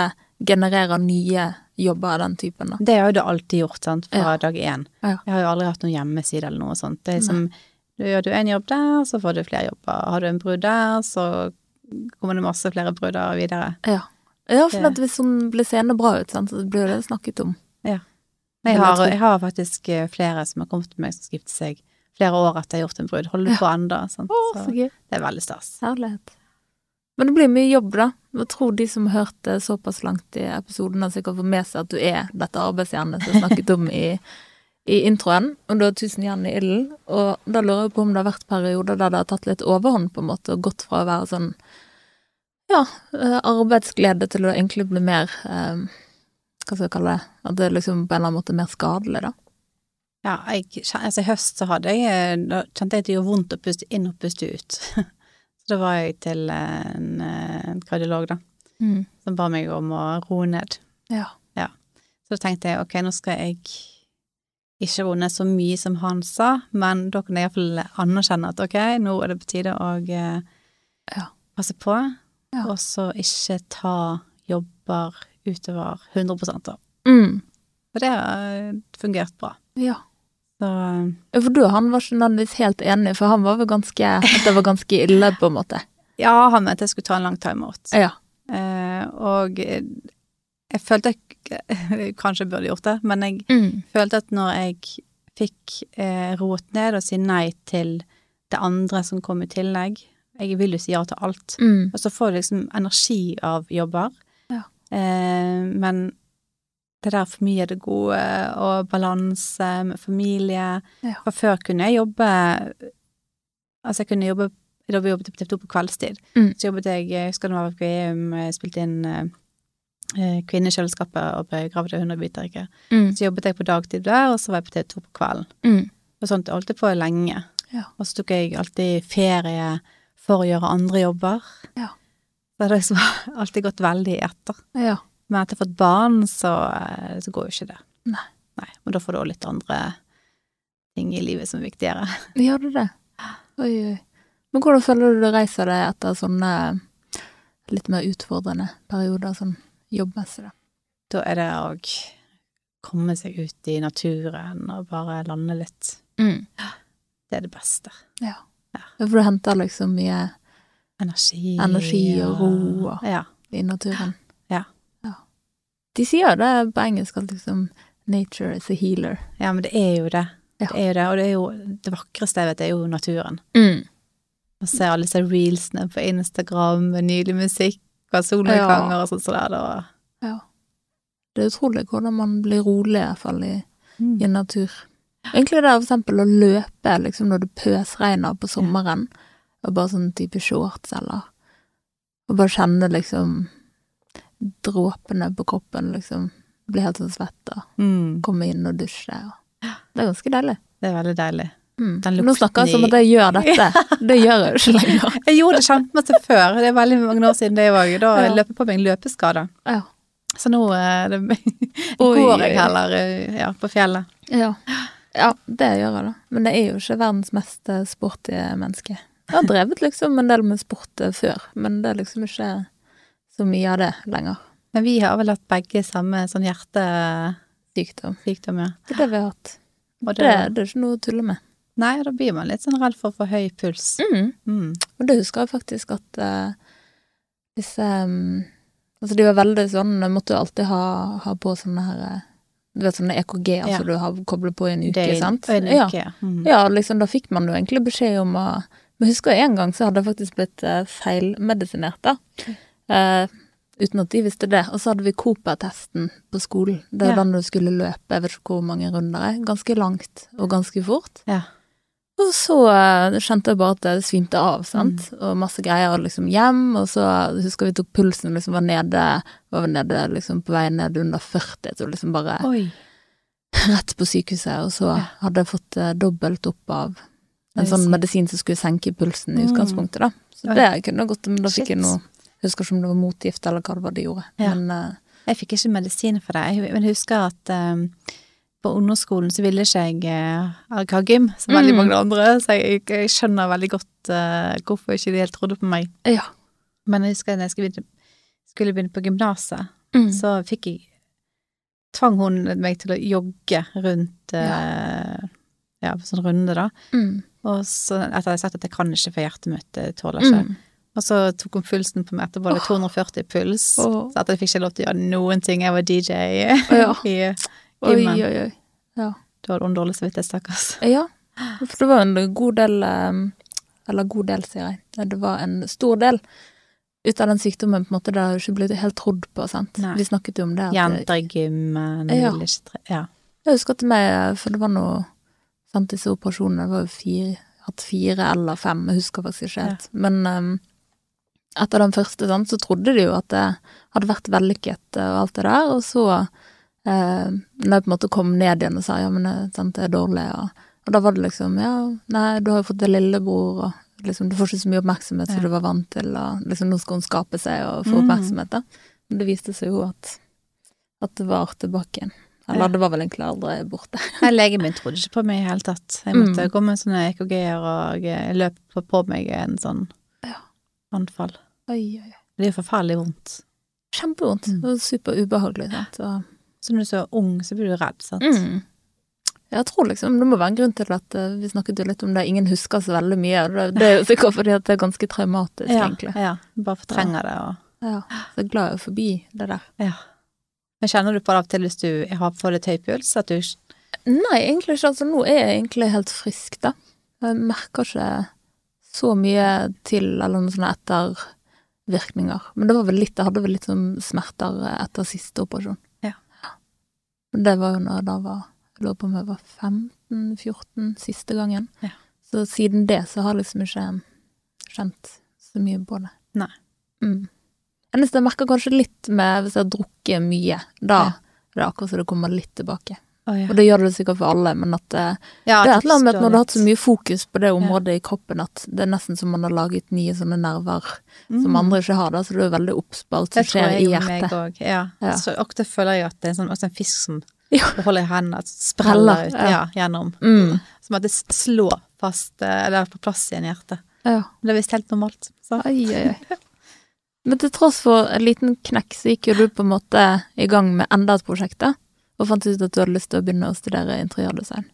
[SPEAKER 1] genererer nye jobber av den typen, da.
[SPEAKER 2] Det har jo du alltid gjort, sant, fra
[SPEAKER 1] Ja.
[SPEAKER 2] dag én.
[SPEAKER 1] Ja.
[SPEAKER 2] Jeg har jo aldri hatt noen hjemmeside eller noe sånt. Det er liksom, du gjør du en jobb der, så får du flere jobber. Har du en brudd der, så kommer det masse flere brudder videre.
[SPEAKER 1] Ja. Ja, for
[SPEAKER 2] Det-
[SPEAKER 1] at hvis hun blir seende bra ut, sant, så blir det snakket om.
[SPEAKER 2] Men
[SPEAKER 1] Vil jeg
[SPEAKER 2] jeg har,
[SPEAKER 1] tro.
[SPEAKER 2] jeg har faktisk eh, flere som har kommet til meg som skal gifte seg flere år etter jeg har gjort en brudd. Holder på enda, sant. Så
[SPEAKER 1] gøy.
[SPEAKER 2] det er veldig stas.
[SPEAKER 1] Herlighet. Men det blir mye jobb, da. Jeg tror de som hørte såpass langt i episoden, har sikkert fått med seg at du er dette arbeidsjernet som jeg snakket om i, i introen. Og du har tusen jern i ilden. Og da lurer jeg på om det har vært perioder der det har tatt litt overhånd, på en måte, og gått fra å være sånn ja, eh, arbeidsglede til å egentlig bli mer eh, Hva skal jeg kalle det? At det liksom på en eller annen måte er mer skadelig, da.
[SPEAKER 2] Ja, jeg, kjen- altså i høst så hadde jeg, eh, da kjente jeg at det gjorde vondt å puste inn og puste ut. så da var jeg til eh, en, eh, en kardiolog da,
[SPEAKER 1] Mm.
[SPEAKER 2] som ba meg om å roe ned.
[SPEAKER 1] Ja.
[SPEAKER 2] Så da tenkte jeg ok, nå skal jeg ikke roe ned så mye som han sa, men da kan jeg iallfall anerkjenne at ok, nå er det på tide å eh,
[SPEAKER 1] Ja.
[SPEAKER 2] passe på,
[SPEAKER 1] Ja.
[SPEAKER 2] og så ikke ta jobber utover 100 da.
[SPEAKER 1] Mm.
[SPEAKER 2] Og det har eh, fungert bra.
[SPEAKER 1] ja.
[SPEAKER 2] Så eh,
[SPEAKER 1] Ja, For du, han var ikke nødvendigvis helt enig, for han var vel ganske At det var ganske ille, på en måte.
[SPEAKER 2] ja, han mente jeg skulle ta en lang timeout.
[SPEAKER 1] Ja.
[SPEAKER 2] Eh, og eh, jeg følte jeg kanskje burde gjort det, men jeg
[SPEAKER 1] Mm.
[SPEAKER 2] følte at når jeg fikk eh, roet ned og si nei til det andre som kom i tillegg Jeg vil jo si ja til alt.
[SPEAKER 1] Mm.
[SPEAKER 2] Og så får du liksom energi av jobber.
[SPEAKER 1] Ja.
[SPEAKER 2] Eh, men det der for mye er det gode, og balanse med familie.
[SPEAKER 1] Ja.
[SPEAKER 2] Fra før kunne jeg jobbe Altså, jeg kunne jobbe Da vi jobbet på TV 2 på kveldstid,
[SPEAKER 1] Mm.
[SPEAKER 2] så jobbet jeg eh, Jeg husker det var på Kveum, jeg spilte inn eh, Kvinnekjøleskapet og begravde hundrebitere.
[SPEAKER 1] Mm.
[SPEAKER 2] Så jobbet jeg på dagtid der, og så var jeg på TV 2 på kvelden.
[SPEAKER 1] Mm.
[SPEAKER 2] Og sånt holdt jeg på lenge.
[SPEAKER 1] Ja.
[SPEAKER 2] Og så tok jeg alltid ferie for å gjøre andre jobber.
[SPEAKER 1] Ja.
[SPEAKER 2] Så har det liksom alltid gått veldig etter.
[SPEAKER 1] Ja.
[SPEAKER 2] Men etter jeg har fått barn, så, eh, så går jo ikke det.
[SPEAKER 1] Nei.
[SPEAKER 2] Nei. Og da får du også litt andre ting i livet som er viktigere.
[SPEAKER 1] Gjør du det? Oi, oi. Men hvordan føler du du reiser deg etter sånne eh, litt mer utfordrende perioder, sånn jobbmessig, da?
[SPEAKER 2] Da er det å komme seg ut i naturen og bare lande litt.
[SPEAKER 1] Mm.
[SPEAKER 2] Det er det beste.
[SPEAKER 1] For du henter liksom mye
[SPEAKER 2] Energi.
[SPEAKER 1] Energi og ro og-
[SPEAKER 2] Ja.
[SPEAKER 1] i naturen.
[SPEAKER 2] Ja.
[SPEAKER 1] ja. De sier jo det på engelsk at liksom nature is a healer.
[SPEAKER 2] ja, men det er jo det.
[SPEAKER 1] Ja.
[SPEAKER 2] Det er jo det, og det er jo det vakreste jeg vet, er jo naturen.
[SPEAKER 1] Mm.
[SPEAKER 2] Og ser alle disse reelsene på Instagram med nydelig musikk og solnedganger og sånt. Så der, da.
[SPEAKER 1] Ja. Det er utrolig hvordan man blir rolig, i hvert fall i i natur. Egentlig det er for eksempel å løpe liksom når det pøsregner på sommeren, og bare sånn type shorts eller Og bare kjenne liksom dråpene på kroppen, liksom. Bli helt sånn svett og
[SPEAKER 2] Mm.
[SPEAKER 1] komme inn og dusje. Og. Det er ganske deilig.
[SPEAKER 2] Det er veldig deilig.
[SPEAKER 1] Mm.
[SPEAKER 2] Den
[SPEAKER 1] Nå snakker jeg som
[SPEAKER 2] lukten
[SPEAKER 1] at jeg gjør dette. Det gjør jeg jo ikke lenger.
[SPEAKER 2] Jeg gjorde det kjempemasse før, det er veldig mange år siden det òg. Da
[SPEAKER 1] Ja.
[SPEAKER 2] løp jeg på meg en løpeskade.
[SPEAKER 1] Ja.
[SPEAKER 2] Så nå eh, det,
[SPEAKER 1] Oi, oi,
[SPEAKER 2] går jeg
[SPEAKER 1] oi.
[SPEAKER 2] heller eh, ja, på fjellet.
[SPEAKER 1] Ja. ja, det gjør jeg, da. Men jeg er jo ikke verdens mest eh, sporty menneske. Jeg har drevet liksom en del med sport eh, før, men det er liksom ikke så mye av det lenger.
[SPEAKER 2] Men vi har vel hatt begge samme sånn hjertesykdom,
[SPEAKER 1] Sykdom.
[SPEAKER 2] ja.
[SPEAKER 1] Det er det vi har hatt.
[SPEAKER 2] Og
[SPEAKER 1] Det,
[SPEAKER 2] da,
[SPEAKER 1] det er ikke noe å tulle med.
[SPEAKER 2] nei, da blir man litt sånn redd for å få høy puls. Mm.
[SPEAKER 1] Og det husker jeg faktisk at eh, disse mm, Altså, de var veldig sånn De måtte jo alltid ha, ha på sånne her eh, Du vet sånne EKG, altså du har koblet på i en uke,
[SPEAKER 2] Det er
[SPEAKER 1] sant?
[SPEAKER 2] En
[SPEAKER 1] Ja.
[SPEAKER 2] uke. Ja. Mm.
[SPEAKER 1] Ja, liksom, da fikk man jo egentlig beskjed om å Men jeg husker en gang så hadde jeg faktisk blitt eh, feilmedisinert, da. Eh, uten at de visste det. Og så hadde vi Cooper-testen på skolen. Det er
[SPEAKER 2] Ja.
[SPEAKER 1] den du skulle løpe, jeg vet ikke hvor mange runder det er. Ganske langt og ganske fort.
[SPEAKER 2] Ja.
[SPEAKER 1] Og så eh, kjente jeg bare at det svimte av, sant. Og masse greier, og liksom hjem. Og så husker vi tok pulsen, liksom var nede, var nede liksom på vei ned under 40, så liksom bare
[SPEAKER 2] Oi.
[SPEAKER 1] rett på sykehuset, og så
[SPEAKER 2] Ja.
[SPEAKER 1] hadde jeg fått eh, dobbelt opp av en
[SPEAKER 2] Medisin.
[SPEAKER 1] sånn medisin som skulle senke pulsen i
[SPEAKER 2] Mm.
[SPEAKER 1] utgangspunktet, da. Så
[SPEAKER 2] Oi.
[SPEAKER 1] det kunne gått, men da fikk
[SPEAKER 2] Shit.
[SPEAKER 1] jeg noe jeg husker ikke om det var motgift eller hva det var de gjorde.
[SPEAKER 2] Ja.
[SPEAKER 1] Men eh,
[SPEAKER 2] Jeg fikk ikke medisin for det, Jeg- men jeg husker at eh, på ungdomsskolen så ville ikke jeg eh, Jeg har gym, som veldig
[SPEAKER 1] Mm.
[SPEAKER 2] mange andre, så jeg, jeg skjønner veldig godt eh, hvorfor ikke de helt trodde på meg.
[SPEAKER 1] ja.
[SPEAKER 2] Men jeg husker da jeg skulle begynne, skulle begynne på gymnaset,
[SPEAKER 1] Mm.
[SPEAKER 2] så fikk jeg Tvang hun meg til å jogge rundt eh, Ja, på sånn runde, da.
[SPEAKER 1] Mm.
[SPEAKER 2] Og så etter at jeg hadde sagt at jeg kan ikke, for hjertet mitt eh, tåler ikke.
[SPEAKER 1] Mm.
[SPEAKER 2] Og så tok hun pulsen på meg etterpå, det var 240 puls.
[SPEAKER 1] Åh.
[SPEAKER 2] Så at jeg fikk ikke lov til å gjøre noen ting. Jeg var DJ.
[SPEAKER 1] Ja.
[SPEAKER 2] i,
[SPEAKER 1] Oi,
[SPEAKER 2] Gymmen.
[SPEAKER 1] oi, oi.
[SPEAKER 2] da hadde hun dårlig samvittighet, stakkars.
[SPEAKER 1] Ja, for det var en god del eh, Eller god del, sier jeg. Det var en stor del ut av den sykdommen, på en måte, det har jo ikke blitt helt trodd på, sant.
[SPEAKER 2] Nei.
[SPEAKER 1] Vi snakket jo om det. at-
[SPEAKER 2] Jenter i gymmen,
[SPEAKER 1] Ja.
[SPEAKER 2] ville ikke tre... Ja.
[SPEAKER 1] Jeg husker at meg, for det var noe sant, disse operasjonene var jo fire, hatt fire eller fem, jeg husker faktisk ikke helt. Men em, etter den første, sant, så trodde de jo at det hadde vært vellykket eh, og alt det der, og så eh, når jeg på en måte kom ned igjen og sa ja, men eh, sant, det er dårlig, og, og da var det liksom ja, nei, du har jo fått en lillebror, og liksom du får ikke så mye oppmerksomhet
[SPEAKER 2] Ja.
[SPEAKER 1] som du var vant til, og liksom nå skal hun skape seg og få
[SPEAKER 2] Mm.
[SPEAKER 1] oppmerksomhet, da. Men det viste seg jo at, at det var tilbake igjen. Eller
[SPEAKER 2] Ja.
[SPEAKER 1] det var vel egentlig aldri borte.
[SPEAKER 2] Nei, legen min trodde ikke på meg i det hele tatt. Jeg måtte
[SPEAKER 1] Mm.
[SPEAKER 2] gå med sånne EKG-er, og jeg løp på- på meg en sånn
[SPEAKER 1] Ja.
[SPEAKER 2] anfall.
[SPEAKER 1] Oi, oi.
[SPEAKER 2] Det er jo forferdelig vondt.
[SPEAKER 1] Kjempevondt.
[SPEAKER 2] Mm.
[SPEAKER 1] Det var superubehagelig. Sant? Og,
[SPEAKER 2] Så når du er så ung, så blir du redd, sant?
[SPEAKER 1] Mm, Jeg tror liksom, Det må være en grunn til at eh, vi snakket jo litt om det, ingen husker så veldig mye. og Det, det er jo sikkert fordi at det er ganske traumatisk,
[SPEAKER 2] Ja,
[SPEAKER 1] egentlig.
[SPEAKER 2] ja. Bare fortrenger det og
[SPEAKER 1] Ja. Så jeg er glad jeg er forbi det der.
[SPEAKER 2] Ja. Men kjenner du på det av og til hvis du har for litt høy puls, at du ikke
[SPEAKER 1] Nei, egentlig ikke. Altså, nå er jeg egentlig helt frisk, da. Jeg merker ikke så mye til eller noen sånne ettervirkninger. Men det var vel litt, jeg hadde vel litt sånn smerter etter siste operasjon.
[SPEAKER 2] Ja.
[SPEAKER 1] Det var jo når da var Jeg lurer på om jeg var 15-14 siste gangen.
[SPEAKER 2] Ja.
[SPEAKER 1] Så siden det så har jeg liksom ikke kjent så mye på det.
[SPEAKER 2] Nei.
[SPEAKER 1] Mm. Eneste jeg merker kanskje litt med hvis jeg har drukket mye, da
[SPEAKER 2] Ja.
[SPEAKER 1] det er det akkurat som det kommer litt tilbake.
[SPEAKER 2] Å, ja.
[SPEAKER 1] Og det gjør det sikkert for alle, men at det,
[SPEAKER 2] Ja,
[SPEAKER 1] det er et eller annet med
[SPEAKER 2] står
[SPEAKER 1] at når du har hatt
[SPEAKER 2] litt-
[SPEAKER 1] så mye fokus på det området i kroppen, at det er nesten som man har laget nye sånne nerver som andre ikke har, da, så du er veldig obs på alt
[SPEAKER 2] Mm.
[SPEAKER 1] som
[SPEAKER 2] Det tror
[SPEAKER 1] skjer
[SPEAKER 2] jeg
[SPEAKER 1] i
[SPEAKER 2] jo meg
[SPEAKER 1] hjertet.
[SPEAKER 2] òg. Ja.
[SPEAKER 1] Ja.
[SPEAKER 2] Så ofte føler jeg at det er sånn, også en fisk som
[SPEAKER 1] Ja.
[SPEAKER 2] du holder i hendene, at spreller ut
[SPEAKER 1] ja.
[SPEAKER 2] ja. gjennom.
[SPEAKER 1] Mm.
[SPEAKER 2] Som at det s- slår fast, eh, eller på plass igjen i hjertet.
[SPEAKER 1] Ja.
[SPEAKER 2] Men Det er visst helt normalt. Så.
[SPEAKER 1] Oi, oi, oi. Men til tross for en liten knekk, så gikk jo du på en måte i gang med enda et prosjekt, da. Og fant ut at du hadde lyst til å begynne å studere interiørdesign.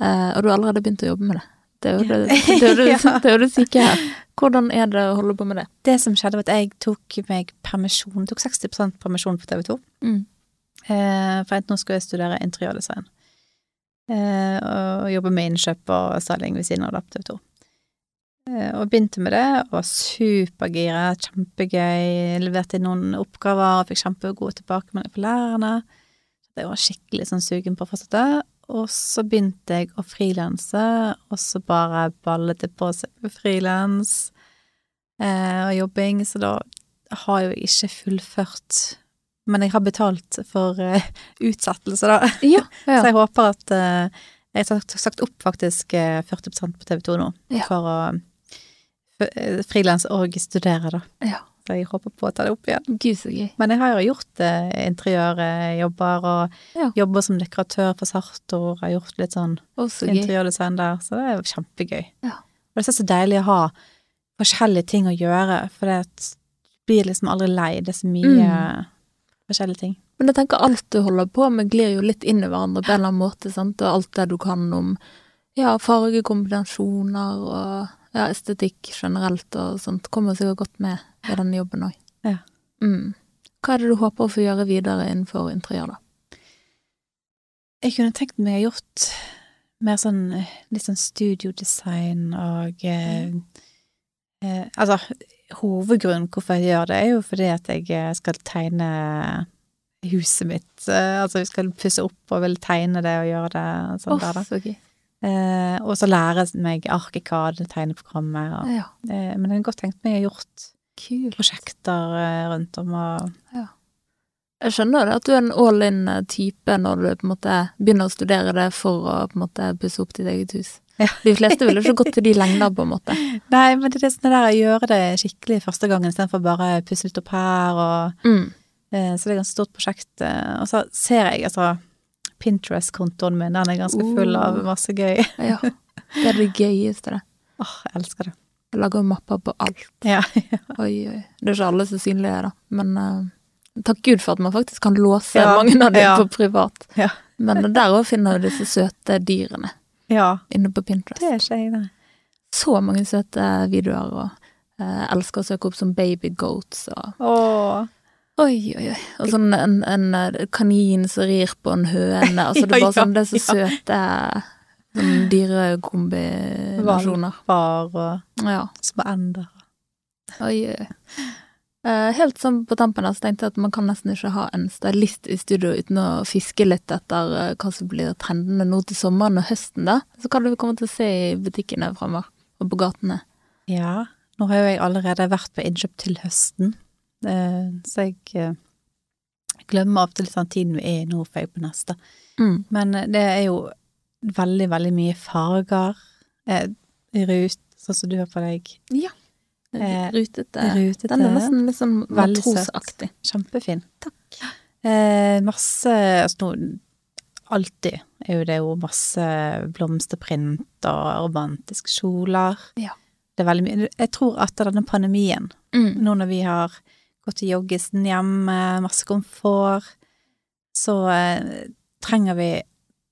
[SPEAKER 1] Eh, og du har allerede begynt å jobbe med det. Det er jo det, det, er jo det,
[SPEAKER 2] Ja.
[SPEAKER 1] det, er jo det syke her. Hvordan er det å holde på med det?
[SPEAKER 2] Det som skjedde, var at jeg tok meg permisjon, tok 60 permisjon på TV 2.
[SPEAKER 1] Mm.
[SPEAKER 2] Eh, for at nå skal jeg studere interiørdesign. Eh, og jobbe med innkjøp og styling ved siden av det på TV 2. Eh, og begynte med det, og var supergira, kjempegøy. Leverte inn noen oppgaver, fikk kjempegode tilbakemeldinger fra lærerne. Så jeg var skikkelig sånn sugen på å fortsette. Og så begynte jeg å frilanse, og så bare ballet det på seg med frilans eh, og jobbing, så da har jeg jo ikke fullført Men jeg har betalt for eh, utsettelse, da.
[SPEAKER 1] Ja, ja.
[SPEAKER 2] Så jeg håper at eh, Jeg har sagt- sagt opp faktisk eh, 40 på TV 2 nå
[SPEAKER 1] Ja.
[SPEAKER 2] for å f- eh, frilans og studere, da.
[SPEAKER 1] Ja.
[SPEAKER 2] Så jeg håper på å ta det opp igjen.
[SPEAKER 1] Gud, så gøy.
[SPEAKER 2] Men jeg har jo gjort eh, interiørjobber og
[SPEAKER 1] Ja.
[SPEAKER 2] jobber som dekoratør for Sartor. Har gjort litt sånn
[SPEAKER 1] Å, så gøy.
[SPEAKER 2] interiørdesign der, så det er jo kjempegøy.
[SPEAKER 1] Ja.
[SPEAKER 2] Og det er så deilig å ha forskjellige ting å gjøre, for det at du blir liksom aldri lei. Det er så mye
[SPEAKER 1] Mm.
[SPEAKER 2] forskjellige ting.
[SPEAKER 1] Men jeg tenker alt du holder på med, glir jo litt inn i hverandre på en eller annen måte, sant. Og alt det du kan om ja, fargekombinasjoner og ja, estetikk generelt og sånt, kommer sikkert godt med i den jobben òg.
[SPEAKER 2] Ja.
[SPEAKER 1] Mm. Hva er det du håper å få gjøre videre innenfor interiør, da?
[SPEAKER 2] Jeg kunne tenkt meg å ha gjort mer sånn eh, litt sånn studiodesign og eh, eh, Altså, hovedgrunnen hvorfor jeg gjør det, er jo fordi at jeg eh, skal tegne huset mitt. Eh, altså, jeg skal pusse opp og vil tegne det og gjøre det sånn der, da.
[SPEAKER 1] Å, så gøy.
[SPEAKER 2] Eh, og så lære meg Arkikad, tegneprogrammet. Og,
[SPEAKER 1] Ja,
[SPEAKER 2] eh, men jeg har godt tenkt meg å ha gjort
[SPEAKER 1] kult.
[SPEAKER 2] prosjekter eh, rundt om og
[SPEAKER 1] Jeg skjønner det, at du er en all in-type når du på en måte begynner å studere det for å på en måte pusse opp ditt eget hus.
[SPEAKER 2] Ja.
[SPEAKER 1] De fleste ville ikke gått til de lengder, på en måte.
[SPEAKER 2] Nei, men det er det sånn der å gjøre det skikkelig første gangen istedenfor bare å pusse litt opp her og
[SPEAKER 1] Mm.
[SPEAKER 2] eh, Så det er et ganske stort prosjekt. Eh, og så ser jeg, altså Pinterest-kontoen min, den er ganske full av
[SPEAKER 1] Uh.
[SPEAKER 2] masse gøy.
[SPEAKER 1] Ja. Det er det gøyeste, det.
[SPEAKER 2] Åh, jeg elsker det.
[SPEAKER 1] Jeg lager jo mapper på alt.
[SPEAKER 2] Ja.
[SPEAKER 1] Oi, oi. Det er ikke alle så synlige, da. Men eh, takk Gud for at man faktisk kan låse
[SPEAKER 2] Ja,
[SPEAKER 1] mange av dem
[SPEAKER 2] ja.
[SPEAKER 1] på privat.
[SPEAKER 2] Ja.
[SPEAKER 1] Men der òg finner du disse søte dyrene
[SPEAKER 2] ja.
[SPEAKER 1] inne på Pinterest.
[SPEAKER 2] Det er ikke jeg, nei.
[SPEAKER 1] Så mange søte videoer, og eh, elsker å søke opp som baby goats og
[SPEAKER 2] Åh.
[SPEAKER 1] Oi, oi, oi. Og sånn en, en eh, kanin som rir på en høne. Altså, det er
[SPEAKER 2] Ja,
[SPEAKER 1] bare sånn, det er så
[SPEAKER 2] ja,
[SPEAKER 1] søte sånn dyrekombinasjoner.
[SPEAKER 2] Valper og
[SPEAKER 1] Ja.
[SPEAKER 2] små ender.
[SPEAKER 1] Oi, oi. Eh, helt sånn på tampen her, så tenkte jeg at man kan nesten ikke ha en stylist i studio uten å fiske litt etter eh, hva som blir trendene nå til sommeren og høsten, da. Så hva er det vi kommer til å se i butikkene fremover, og på gatene?
[SPEAKER 2] Ja, nå har jo jeg allerede vært på innkjøp til høsten, eh, så jeg eh, glemmer ofte litt sånn tiden vi er i nå, for jeg er på neste.
[SPEAKER 1] Mm.
[SPEAKER 2] Men eh, det er jo veldig, veldig mye farger. Eh, rut, sånn som du har på deg. Eh,
[SPEAKER 1] Rutete.
[SPEAKER 2] Rutete.
[SPEAKER 1] Den er nesten litt sånn
[SPEAKER 2] Veldig søt.
[SPEAKER 1] matrosaktig.
[SPEAKER 2] Kjempefin. Takk. Eh, masse altså nå, Alltid er jo det jo masse blomsterprint og romantiske kjoler.
[SPEAKER 1] Ja.
[SPEAKER 2] Det er veldig mye. Jeg tror etter denne pandemien
[SPEAKER 1] Mm.
[SPEAKER 2] nå når vi har gått i joggisen hjemme, masse komfort, så eh, trenger vi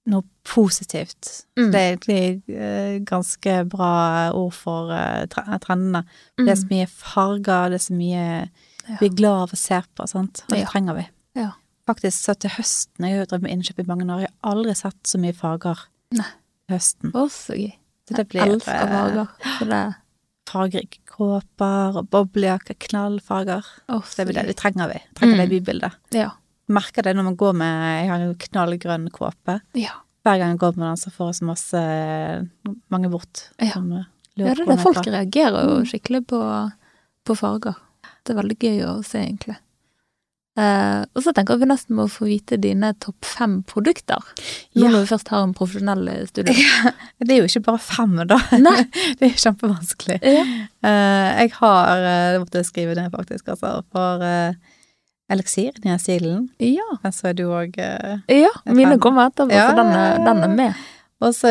[SPEAKER 2] noe positivt.
[SPEAKER 1] Mm.
[SPEAKER 2] Det er egentlig eh, ganske bra ord for eh, tre- trendene. Det er så mye farger, det er så mye
[SPEAKER 1] Mm. Ja.
[SPEAKER 2] vi er glad av å se på, sant? og det
[SPEAKER 1] Ja.
[SPEAKER 2] trenger vi.
[SPEAKER 1] Ja.
[SPEAKER 2] Faktisk så til høsten, jeg har jo drevet med innkjøp i mange år, jeg har aldri sett så mye farger
[SPEAKER 1] Nei.
[SPEAKER 2] høsten.
[SPEAKER 1] Å, så gøy.
[SPEAKER 2] Så det blir
[SPEAKER 1] Jeg elsker
[SPEAKER 2] eh,
[SPEAKER 1] farger. Så det
[SPEAKER 2] fargerike kåper og boblejakker, knallfarger.
[SPEAKER 1] Å,
[SPEAKER 2] Så
[SPEAKER 1] så
[SPEAKER 2] det, blir det,
[SPEAKER 1] gøy.
[SPEAKER 2] det trenger vi. Trenger
[SPEAKER 1] Mm.
[SPEAKER 2] det bybildet.
[SPEAKER 1] Ja.
[SPEAKER 2] merker det når man går med Jeg har en knallgrønn kåpe.
[SPEAKER 1] Ja.
[SPEAKER 2] Hver gang jeg går med den, så får jeg så masse mange bort.
[SPEAKER 1] Ja.
[SPEAKER 2] som, eh, lurer
[SPEAKER 1] ja,
[SPEAKER 2] på
[SPEAKER 1] det er
[SPEAKER 2] hvor den
[SPEAKER 1] det.
[SPEAKER 2] er
[SPEAKER 1] Folk
[SPEAKER 2] fra.
[SPEAKER 1] reagerer jo skikkelig på, på farger. Det er veldig gøy å se, egentlig. Eh, og så tenker jeg vi nesten må få vite dine topp fem produkter, nå
[SPEAKER 2] Ja.
[SPEAKER 1] når vi først har en profesjonell eh, studio.
[SPEAKER 2] Det er jo ikke bare fem, da.
[SPEAKER 1] Nei.
[SPEAKER 2] Det er jo kjempevanskelig.
[SPEAKER 1] Ja.
[SPEAKER 2] Eh, jeg har eh, Jeg måtte skrive det, faktisk, altså. For eh, Elixir, den her silen,
[SPEAKER 1] Ja,
[SPEAKER 2] den så du òg
[SPEAKER 1] ja
[SPEAKER 2] er
[SPEAKER 1] mine
[SPEAKER 2] fan.
[SPEAKER 1] kommer etterpå,
[SPEAKER 2] Ja,
[SPEAKER 1] så den
[SPEAKER 2] ja,
[SPEAKER 1] er,
[SPEAKER 2] ja,
[SPEAKER 1] den er med.
[SPEAKER 2] Og så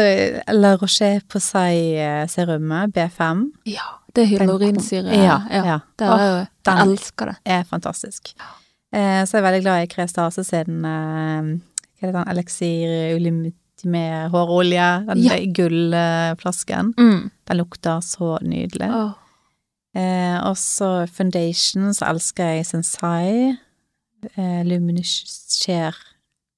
[SPEAKER 2] La eh, Roche Posay-serumet, B5.
[SPEAKER 1] Ja, det er hyalurinsyre.
[SPEAKER 2] Ja,
[SPEAKER 1] ja.
[SPEAKER 2] ja.
[SPEAKER 1] Det er,
[SPEAKER 2] Åh,
[SPEAKER 1] jo- jeg
[SPEAKER 2] den
[SPEAKER 1] elsker det.
[SPEAKER 2] er fantastisk. Eh, så er jeg veldig glad i Krestase siden eh, Hva heter den? Elixir Ultimate hårolje. Den
[SPEAKER 1] Ja.
[SPEAKER 2] gullflasken.
[SPEAKER 1] Mm.
[SPEAKER 2] Den lukter så nydelig.
[SPEAKER 1] Åh.
[SPEAKER 2] Eh, og så foundation, så elsker jeg Sensai. Eh, Luminous Share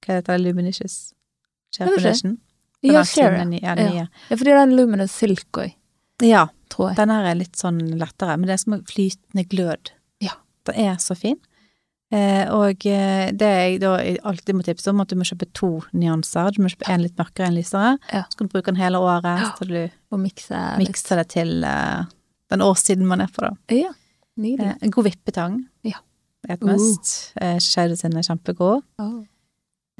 [SPEAKER 2] Hva heter det? Luminous Share
[SPEAKER 1] Vet ikke.
[SPEAKER 2] Foundation? Den
[SPEAKER 1] Ja,
[SPEAKER 2] er
[SPEAKER 1] Share.
[SPEAKER 2] fin, den nye-
[SPEAKER 1] Ja.
[SPEAKER 2] Ja, nye.
[SPEAKER 1] Ja, fordi det er en luminous silk òg,
[SPEAKER 2] ja,
[SPEAKER 1] tror jeg.
[SPEAKER 2] den her er litt sånn lettere, men det er som en flytende glød.
[SPEAKER 1] Ja.
[SPEAKER 2] Den er så fin. Eh, og eh, det jeg da alltid må tipse om, at du må kjøpe to nyanser. Du må kjøpe en litt mørkere, en lysere.
[SPEAKER 1] Ja.
[SPEAKER 2] Så kan du bruke den hele året,
[SPEAKER 1] Ja.
[SPEAKER 2] så du
[SPEAKER 1] Og mikse litt.
[SPEAKER 2] mikser det til eh, den årssiden man er på, da.
[SPEAKER 1] Ja, nydelig.
[SPEAKER 2] Eh, En god vippetang.
[SPEAKER 1] Ja.
[SPEAKER 2] Det er et
[SPEAKER 1] Uh.
[SPEAKER 2] must. Uh. sin er kjempegod.
[SPEAKER 1] Åh.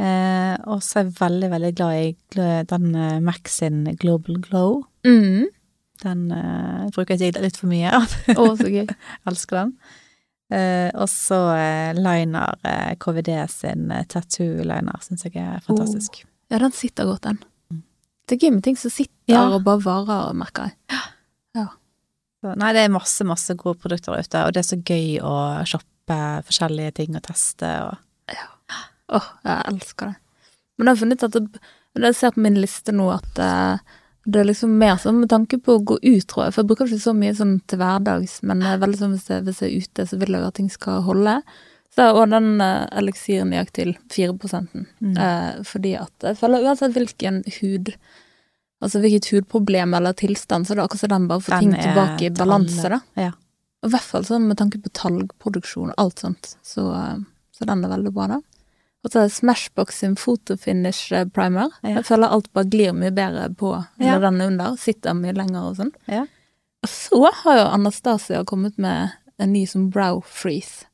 [SPEAKER 2] Eh, og så er jeg veldig, veldig glad i gl- den eh, Mac sin Global Glow.
[SPEAKER 1] Mm.
[SPEAKER 2] Den eh, bruker jeg sikkert litt for mye av.
[SPEAKER 1] Å, så gøy.
[SPEAKER 2] Elsker den. Eh, og så eh, liner eh, KVD sin eh, tattoo-liner syns jeg er fantastisk.
[SPEAKER 1] Ja, den sitter godt, den. Det er gøy med ting som sitter
[SPEAKER 2] Mm. Ja.
[SPEAKER 1] og bare varer, merker jeg.
[SPEAKER 2] Så, nei, det er masse, masse gode produkter der ute, og det er så gøy å shoppe forskjellige ting og teste og
[SPEAKER 1] Åh, jeg elsker det. Men jeg har funnet at det, men jeg ser på min liste nå at eh, det er liksom mer sånn med tanke på å gå ut, tror jeg. For jeg bruker ikke så mye sånn til hverdags, men det er veldig sånn hvis jeg, hvis jeg er ute, så vil jeg at ting skal holde. Så Og den uh, eliksiren gikk til 4
[SPEAKER 2] Mm.
[SPEAKER 1] eh, fordi at jeg føler uansett hvilken hud Altså hvilket hudproblem eller tilstand, så er det akkurat som den bare får
[SPEAKER 2] Den
[SPEAKER 1] ting
[SPEAKER 2] er
[SPEAKER 1] tilbake i
[SPEAKER 2] til
[SPEAKER 1] balanse, da.
[SPEAKER 2] alle. Ja.
[SPEAKER 1] Og I hvert fall sånn med tanke på talgproduksjon og alt sånt, så, eh, så den er veldig bra, da. Og så er det Smashbox sin fotofinish eh, primer.
[SPEAKER 2] Ja.
[SPEAKER 1] Jeg føler alt bare glir mye bedre på
[SPEAKER 2] Ja.
[SPEAKER 1] når den er under, sitter mye lenger og sånn.
[SPEAKER 2] Ja.
[SPEAKER 1] Og så har jo Anastasia kommet med en ny som brow freeze.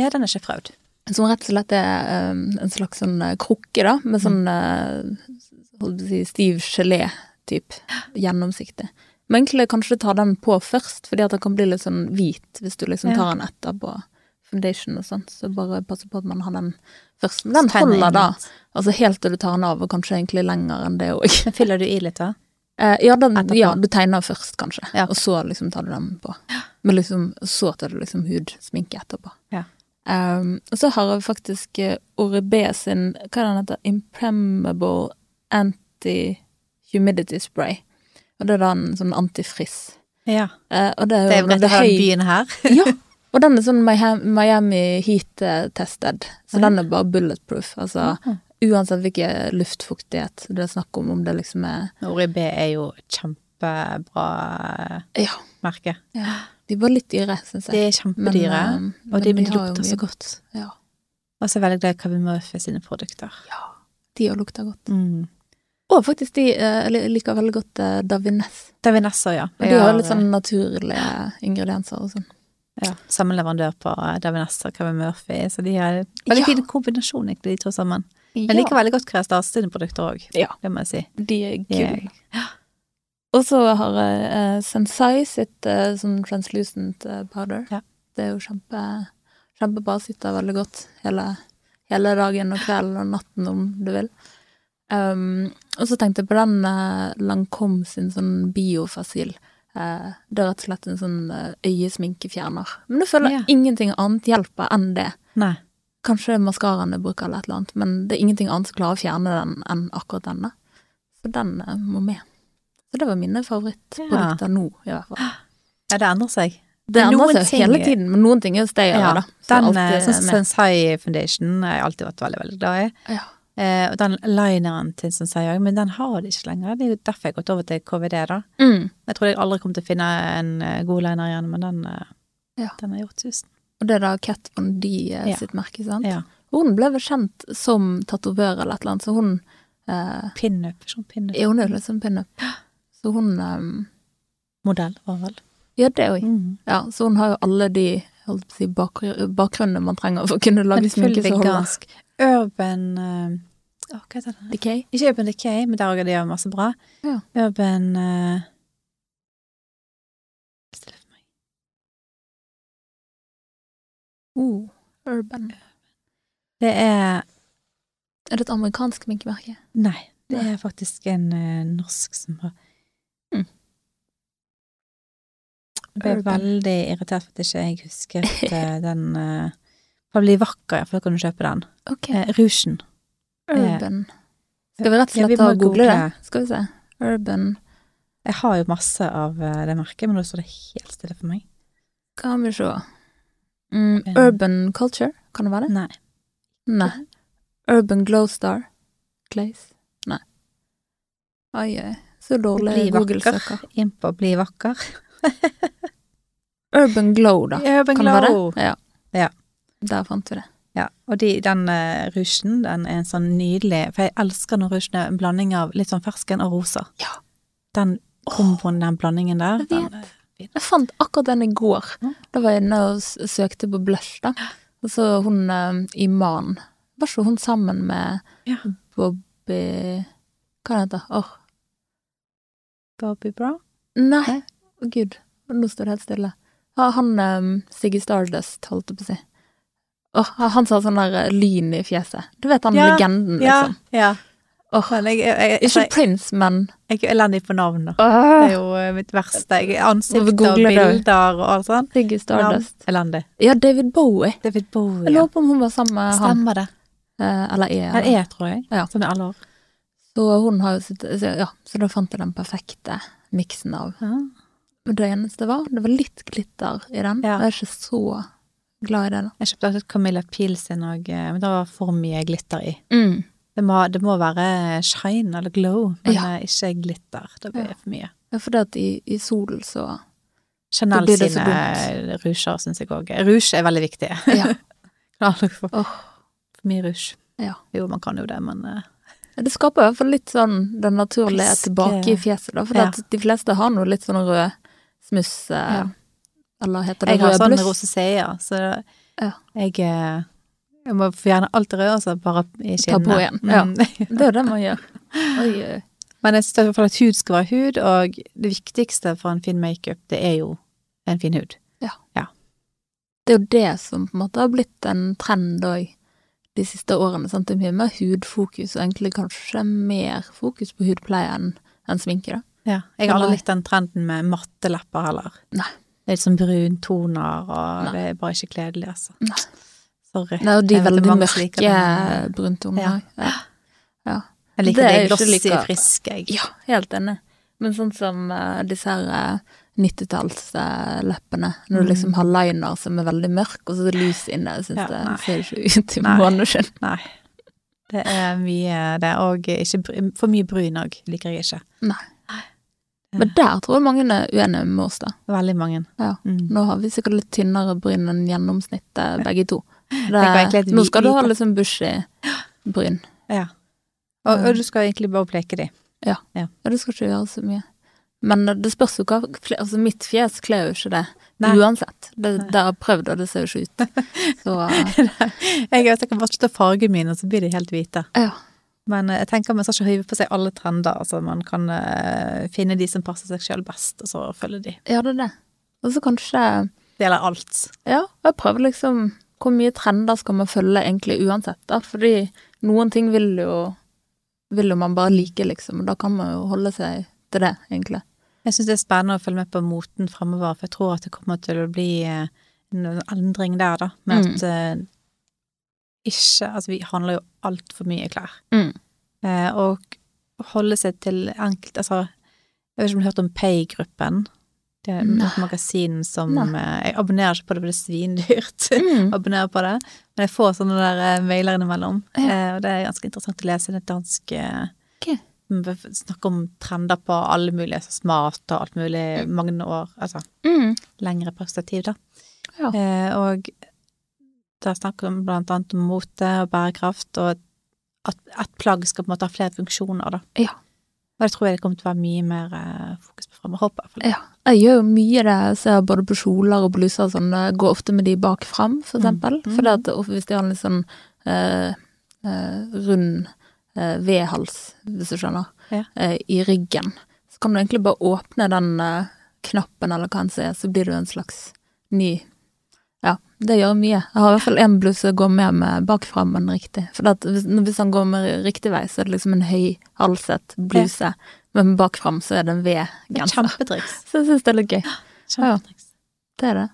[SPEAKER 2] ja, den er ikke fraud.
[SPEAKER 1] Som rett og slett er eh, en slags sånn eh, krukke, da, med sånn
[SPEAKER 2] Mm.
[SPEAKER 1] eh, holdt på å si, stiv gelé-type. Gjennomsiktig. Men egentlig kanskje ta den på først, fordi at den kan bli litt sånn hvit hvis du liksom
[SPEAKER 2] Ja.
[SPEAKER 1] tar den etterpå foundation og sånn. Så bare passe på at man har den først. Men den
[SPEAKER 2] Så tegner jeg
[SPEAKER 1] holder da,
[SPEAKER 2] litt.
[SPEAKER 1] altså helt til du tar den av, og kanskje egentlig lenger enn det òg.
[SPEAKER 2] Men fyller du i litt, da?
[SPEAKER 1] Eh, ja, den,
[SPEAKER 2] Etterpå.
[SPEAKER 1] ja, du tegner først, kanskje,
[SPEAKER 2] Ja.
[SPEAKER 1] og så liksom tar du den på. Men liksom, så tar du liksom hudsminke etterpå.
[SPEAKER 2] Ja.
[SPEAKER 1] Ehm, og så har jeg faktisk eh, Oribe sin hva er den heter, Impremmable Anti-Humidity Spray. Og det er da en sånn antifriss.
[SPEAKER 2] Ja.
[SPEAKER 1] Eh, og det er jo
[SPEAKER 2] Det er jo
[SPEAKER 1] når
[SPEAKER 2] rett
[SPEAKER 1] det er
[SPEAKER 2] fra
[SPEAKER 1] høy
[SPEAKER 2] byen her.
[SPEAKER 1] ja, og den er sånn Miha- Miami Heat-tested, så den er bare bulletproof. Altså uansett hvilken luftfuktighet det er snakk om, om det liksom er
[SPEAKER 2] Oribe er jo kjempebra eh,
[SPEAKER 1] Ja.
[SPEAKER 2] merke.
[SPEAKER 1] De var litt dyre, syns
[SPEAKER 2] De
[SPEAKER 1] jeg.
[SPEAKER 2] er kjempedyre,
[SPEAKER 1] Men, eh, men
[SPEAKER 2] og de,
[SPEAKER 1] de har jo
[SPEAKER 2] lukter
[SPEAKER 1] mye
[SPEAKER 2] så godt.
[SPEAKER 1] Ja.
[SPEAKER 2] Og så er jeg eh, veldig glad i Kaveh Murphy sine produkter.
[SPEAKER 1] De òg lukter godt.
[SPEAKER 2] Mm.
[SPEAKER 1] Og faktisk de eh, jeg liker veldig godt eh, Davines.
[SPEAKER 2] Det er Vanessa, ja.
[SPEAKER 1] Og de har jo litt sånn naturlige ingredienser og sånn.
[SPEAKER 2] ja. Samme leverandør på Det er Vanessa og Kaveh Murphy, så de har veldig
[SPEAKER 1] Ja.
[SPEAKER 2] fin kombinasjon, egentlig, de to sammen. Men jeg
[SPEAKER 1] Ja,
[SPEAKER 2] liker veldig godt Krea Stas sine produkter òg,
[SPEAKER 1] Ja.
[SPEAKER 2] det må jeg si.
[SPEAKER 1] de er
[SPEAKER 2] De er-
[SPEAKER 1] kule. Og så har jeg eh, Sensai sitt eh, sånn translucent eh, powder.
[SPEAKER 2] Ja.
[SPEAKER 1] Det er jo kjempe, kjempebra. Sitter veldig godt hele, hele dagen og kvelden og natten, om du vil. Um, og så tenkte jeg på den eh, Lancôme sin sånn biofasil. Eh, det er rett og slett en sånn eh, øyesminkefjerner. Men jeg føler
[SPEAKER 2] Ja.
[SPEAKER 1] ingenting annet hjelper enn det.
[SPEAKER 2] Nei.
[SPEAKER 1] Kanskje maskaraen jeg bruker eller et eller annet, men det er ingenting annet som klarer å fjerne den enn akkurat denne. Så den eh, må med. Så det var mine favorittprodukter nå, i hvert fall.
[SPEAKER 2] Ja, det endrer seg.
[SPEAKER 1] Det
[SPEAKER 2] Ah, Men noen
[SPEAKER 1] endrer seg
[SPEAKER 2] ting-
[SPEAKER 1] hele tiden, men noen ting er jo stayere,
[SPEAKER 2] Ja,
[SPEAKER 1] da. Så
[SPEAKER 2] Den
[SPEAKER 1] alt
[SPEAKER 2] eh,
[SPEAKER 1] er
[SPEAKER 2] sånn som
[SPEAKER 1] med.
[SPEAKER 2] Sensei Foundation har jeg alltid vært veldig, veldig glad i.
[SPEAKER 1] Ja.
[SPEAKER 2] Eh, og den lineren til Sensei òg, men den har de ikke lenger. Det er jo derfor jeg har gått over til KVD, da.
[SPEAKER 1] Mm.
[SPEAKER 2] Jeg tror jeg aldri kommer til å finne en eh, god liner igjen, men den, eh,
[SPEAKER 1] Ja.
[SPEAKER 2] den har gjort tusen.
[SPEAKER 1] Og det er da Kat Von D eh,
[SPEAKER 2] Ja.
[SPEAKER 1] sitt merke, sant?
[SPEAKER 2] Ja.
[SPEAKER 1] Hun ble vel kjent som tatovør eller et eller annet, så hun eh,
[SPEAKER 2] Pinup. Sånn pinup.
[SPEAKER 1] er hun er jo liksom pinup. Så hun eh,
[SPEAKER 2] Modell, var vel. Mm.
[SPEAKER 1] gjør det òg. Ja, så hun har jo alle de holdt på å si, bakgr bakgrunnene man trenger for å kunne lage
[SPEAKER 2] Men full
[SPEAKER 1] sminke som holder.
[SPEAKER 2] vegansk. Urban eh, Å, hva heter det?
[SPEAKER 1] Decay?
[SPEAKER 2] Ikke Urban Decay, men der gjør de gjør masse bra.
[SPEAKER 1] Ja.
[SPEAKER 2] Urban eh, Stille for meg.
[SPEAKER 1] Oh, urban.
[SPEAKER 2] Det er
[SPEAKER 1] Er det et amerikansk sminkemerke?
[SPEAKER 2] Nei, det er faktisk en eh, norsk som har
[SPEAKER 1] Mm.
[SPEAKER 2] Jeg ble
[SPEAKER 1] Urban.
[SPEAKER 2] veldig irritert for at ikke jeg husket eh, den eh, For å bli vakker, iallfall kan du kjøpe den.
[SPEAKER 1] Ok.
[SPEAKER 2] Eh, Rougen.
[SPEAKER 1] Urban. Skal vi rett og slett
[SPEAKER 2] Ja, vi må
[SPEAKER 1] ta og google det?
[SPEAKER 2] google.
[SPEAKER 1] Skal vi se. Urban.
[SPEAKER 2] Jeg har jo masse av eh, det merket, men nå står det helt stille for meg.
[SPEAKER 1] Kan vi se. Mm,
[SPEAKER 2] Urban.
[SPEAKER 1] urban culture, kan det være det?
[SPEAKER 2] Nei.
[SPEAKER 1] Nei. Urban Glowstar. Glaze. Nei. Oi, oi. Så
[SPEAKER 2] Bli
[SPEAKER 1] dårlig
[SPEAKER 2] vakker.
[SPEAKER 1] Google-søker.
[SPEAKER 2] Inn på Bli vakker.
[SPEAKER 1] Urban Glow, da.
[SPEAKER 2] Urban
[SPEAKER 1] Kan det være det? Ja.
[SPEAKER 2] Ja.
[SPEAKER 1] Der fant vi det.
[SPEAKER 2] Ja, og de, den uh, rougen, den er en sånn nydelig For jeg elsker når rougen er en blanding av litt sånn fersken og rosa.
[SPEAKER 1] Ja.
[SPEAKER 2] Den komboen, den blandingen der.
[SPEAKER 1] Jeg vet.
[SPEAKER 2] Den,
[SPEAKER 1] Jeg fant akkurat den i går.
[SPEAKER 2] Ja.
[SPEAKER 1] Da var jeg inne og s- søkte på blush, da. Og så hun eh, Iman. Var ikke hun sammen med
[SPEAKER 2] Ja.
[SPEAKER 1] Bobby Hva heter hun? Åh,
[SPEAKER 2] Bobby Brown.
[SPEAKER 1] Nei,
[SPEAKER 2] Nei.
[SPEAKER 1] å gud. Nå står det helt stille. Ja, Han um, Siggy Stardust, holdt jeg på å si. Åh, han som har sånn der eh, lyn i fjeset. Du vet han
[SPEAKER 2] Ja,
[SPEAKER 1] legenden,
[SPEAKER 2] Ja,
[SPEAKER 1] liksom.
[SPEAKER 2] ja.
[SPEAKER 1] Åh.
[SPEAKER 2] Men jeg, jeg, jeg,
[SPEAKER 1] Ikke
[SPEAKER 2] jeg,
[SPEAKER 1] Prince, men
[SPEAKER 2] jeg er jo elendig på navn, da. Det
[SPEAKER 1] Åh,
[SPEAKER 2] er jo eh, mitt verste. Jeg,
[SPEAKER 1] Må
[SPEAKER 2] ansikt
[SPEAKER 1] vi
[SPEAKER 2] og
[SPEAKER 1] google det?
[SPEAKER 2] bilder og alt sånt.
[SPEAKER 1] Siggy Stardust.
[SPEAKER 2] Elendig.
[SPEAKER 1] Ja, David Bowie.
[SPEAKER 2] David Bowie.
[SPEAKER 1] Jeg lurer på om hun var sammen med han.
[SPEAKER 2] Stemmer det.
[SPEAKER 1] eh, Eller er.
[SPEAKER 2] Han
[SPEAKER 1] da.
[SPEAKER 2] er, tror jeg.
[SPEAKER 1] Ja.
[SPEAKER 2] Som i alle år.
[SPEAKER 1] Så hun har jo sitt så- Ja, så da fant jeg den perfekte miksen av. Men det eneste var, det var litt glitter i den.
[SPEAKER 2] Ja.
[SPEAKER 1] Og jeg er ikke så glad i det, da.
[SPEAKER 2] Jeg kjøpte også et Camilla Pil sin òg, men det var for mye glitter i.
[SPEAKER 1] Mm.
[SPEAKER 2] Det må, det må være shine eller glow, men
[SPEAKER 1] Ja.
[SPEAKER 2] eh, ikke glitter. Det blir
[SPEAKER 1] Ja.
[SPEAKER 2] for mye.
[SPEAKER 1] Ja, fordi at i, i solen så Da
[SPEAKER 2] Chanel
[SPEAKER 1] blir det så
[SPEAKER 2] sine rouger syns jeg òg. Rouge er veldig viktig.
[SPEAKER 1] Ja.
[SPEAKER 2] Kan aldri få
[SPEAKER 1] Åh.
[SPEAKER 2] for mye rouge.
[SPEAKER 1] Ja.
[SPEAKER 2] Jo, man kan jo det, men eh,
[SPEAKER 1] Ja, Det skaper i hvert fall litt sånn den naturlige
[SPEAKER 2] Friske-
[SPEAKER 1] tilbake i fjeset, da. For
[SPEAKER 2] Ja.
[SPEAKER 1] at de fleste har noe litt sånn rød smuss, eh,
[SPEAKER 2] Ja.
[SPEAKER 1] eller heter det
[SPEAKER 2] jeg har
[SPEAKER 1] rød
[SPEAKER 2] sånn
[SPEAKER 1] bluss?
[SPEAKER 2] rosacea, så
[SPEAKER 1] Ja.
[SPEAKER 2] jeg eh, jeg må fjerne alt det røde, og så bare i
[SPEAKER 1] Ta på
[SPEAKER 2] skinnene.
[SPEAKER 1] igjen, ja.
[SPEAKER 2] Mm.
[SPEAKER 1] Det er det man gjør. Oi, oi.
[SPEAKER 2] Men jeg syns i hvert fall at hud skal være hud, og det viktigste for en fin makeup, det er jo en fin hud.
[SPEAKER 1] det er jo det som på en måte har blitt en trend òg de siste årene. Sant? Det er mye mer hudfokus, og egentlig kanskje mer fokus på hudpleie enn enn sminke, da.
[SPEAKER 2] Ja, jeg har
[SPEAKER 1] Eller-
[SPEAKER 2] aldri likt den trenden med matte lepper heller.
[SPEAKER 1] Nei.
[SPEAKER 2] Det er litt sånn bruntoner, og
[SPEAKER 1] Nei.
[SPEAKER 2] det er bare ikke kledelig, altså.
[SPEAKER 1] Nei.
[SPEAKER 2] Sorry.
[SPEAKER 1] Nei, og de
[SPEAKER 2] Jeg vet det er
[SPEAKER 1] veldig
[SPEAKER 2] mange som liker
[SPEAKER 1] mørke
[SPEAKER 2] den,
[SPEAKER 1] bruntonene
[SPEAKER 2] Ja.
[SPEAKER 1] òg. Ja.
[SPEAKER 2] Jeg
[SPEAKER 1] det
[SPEAKER 2] liker det,
[SPEAKER 1] er jo ikke
[SPEAKER 2] glossy,
[SPEAKER 1] like-
[SPEAKER 2] friske, jeg.
[SPEAKER 1] Ja, helt enig. Men sånn som eh, disse her eh, 90-tallsleppene, når
[SPEAKER 2] Mm.
[SPEAKER 1] du liksom har liner som er veldig mørk, og så er det lys inne, jeg syns
[SPEAKER 2] Ja, nei.
[SPEAKER 1] det ser ikke ut i
[SPEAKER 2] Nei.
[SPEAKER 1] måneskinn.
[SPEAKER 2] Nei. Det er mye det, og ikke br- for mye brun òg, liker jeg ikke.
[SPEAKER 1] Men der tror jeg mange er uenige med oss, da.
[SPEAKER 2] Veldig mange.
[SPEAKER 1] Ja.
[SPEAKER 2] Mm.
[SPEAKER 1] Nå har vi sikkert litt tynnere bryn enn gjennomsnittet, begge to.
[SPEAKER 2] var
[SPEAKER 1] Det,
[SPEAKER 2] egentlig et
[SPEAKER 1] nå
[SPEAKER 2] vi-
[SPEAKER 1] skal du ha
[SPEAKER 2] lite-
[SPEAKER 1] liksom bushy bryn.
[SPEAKER 2] Ja. Og, og du skal egentlig bare bleke de.
[SPEAKER 1] Ja, du skal ikke gjøre så mye. Men eh, det spørs jo hva kle- Altså, mitt fjes kler jo ikke det.
[SPEAKER 2] Nei.
[SPEAKER 1] Uansett. Det, det har jeg prøvd, og det ser jo ikke ut. Så eh,
[SPEAKER 2] Jeg, vet, jeg kan bare slutte å farge mine, og så blir de helt hvite.
[SPEAKER 1] ja.
[SPEAKER 2] Men eh, jeg tenker man skal ikke høyve på seg alle trender. Altså, man kan eh, finne de som passer seg sjøl best, og så følge de.
[SPEAKER 1] Ja, det er det. Og så kanskje
[SPEAKER 2] Det gjelder alt.
[SPEAKER 1] Ja, jeg prøver liksom Hvor mye trender skal man følge egentlig uansett, da? Fordi noen ting vil jo Vil jo man bare like, liksom. og Da kan man jo holde seg til det, egentlig.
[SPEAKER 2] Jeg syns det er spennende å følge med på moten fremover, for jeg tror at det kommer til å bli eh, en endring der, da. Med
[SPEAKER 1] Mm.
[SPEAKER 2] at eh, ikke Altså, vi handler jo altfor mye klær.
[SPEAKER 1] Mm.
[SPEAKER 2] Eh, og holde seg til enkelt Altså, jeg vet ikke om du har hørt om Pay-gruppen? Det er
[SPEAKER 1] Nei.
[SPEAKER 2] et magasin som
[SPEAKER 1] Nei.
[SPEAKER 2] eh, Jeg abonnerer ikke på det, for det er svindyrt.
[SPEAKER 1] Mm.
[SPEAKER 2] abonnere på det. Men jeg får sånne der eh, mailer innimellom,
[SPEAKER 1] Ja.
[SPEAKER 2] eh, og det er ganske interessant å lese. Det er et dansk eh,
[SPEAKER 1] Ok.
[SPEAKER 2] som f- Snakker om trender på alle mulige, så smart og alt mulig, mange år, altså
[SPEAKER 1] Mm.
[SPEAKER 2] lengre perspektiv, da.
[SPEAKER 1] Ja.
[SPEAKER 2] Eh, og Det er snakk om blant annet om mote og bærekraft, og at et plagg skal på en måte ha flere funksjoner, da.
[SPEAKER 1] Ja.
[SPEAKER 2] Og det tror jeg det kommer til å være mye mer eh, fokus på fremover, håper jeg. i hvert fall.
[SPEAKER 1] Ja. Jeg gjør jo mye det, jeg ser både på kjoler og bluser og sånn, jeg går ofte med de bak fram, for eksempel.
[SPEAKER 2] Mm.
[SPEAKER 1] For det at of- hvis de har en litt sånn eh, eh, rund eh, V-hals, hvis du skjønner,
[SPEAKER 2] Ja.
[SPEAKER 1] eh, i ryggen, så kan du egentlig bare åpne den eh, knappen eller hva den sier, så blir du en slags ny Ja, det gjør mye. Jeg har i hvert fall én bluse jeg går med med bak fram, men riktig. For det at hvis, hvis han går med riktig vei, så er det liksom en høyhalset bluse, men bak fram så er det en
[SPEAKER 2] Det er
[SPEAKER 1] V-genser.
[SPEAKER 2] Kjempetriks.
[SPEAKER 1] Så jeg syns det er litt gøy.
[SPEAKER 2] Kjempetriks.
[SPEAKER 1] Det er det.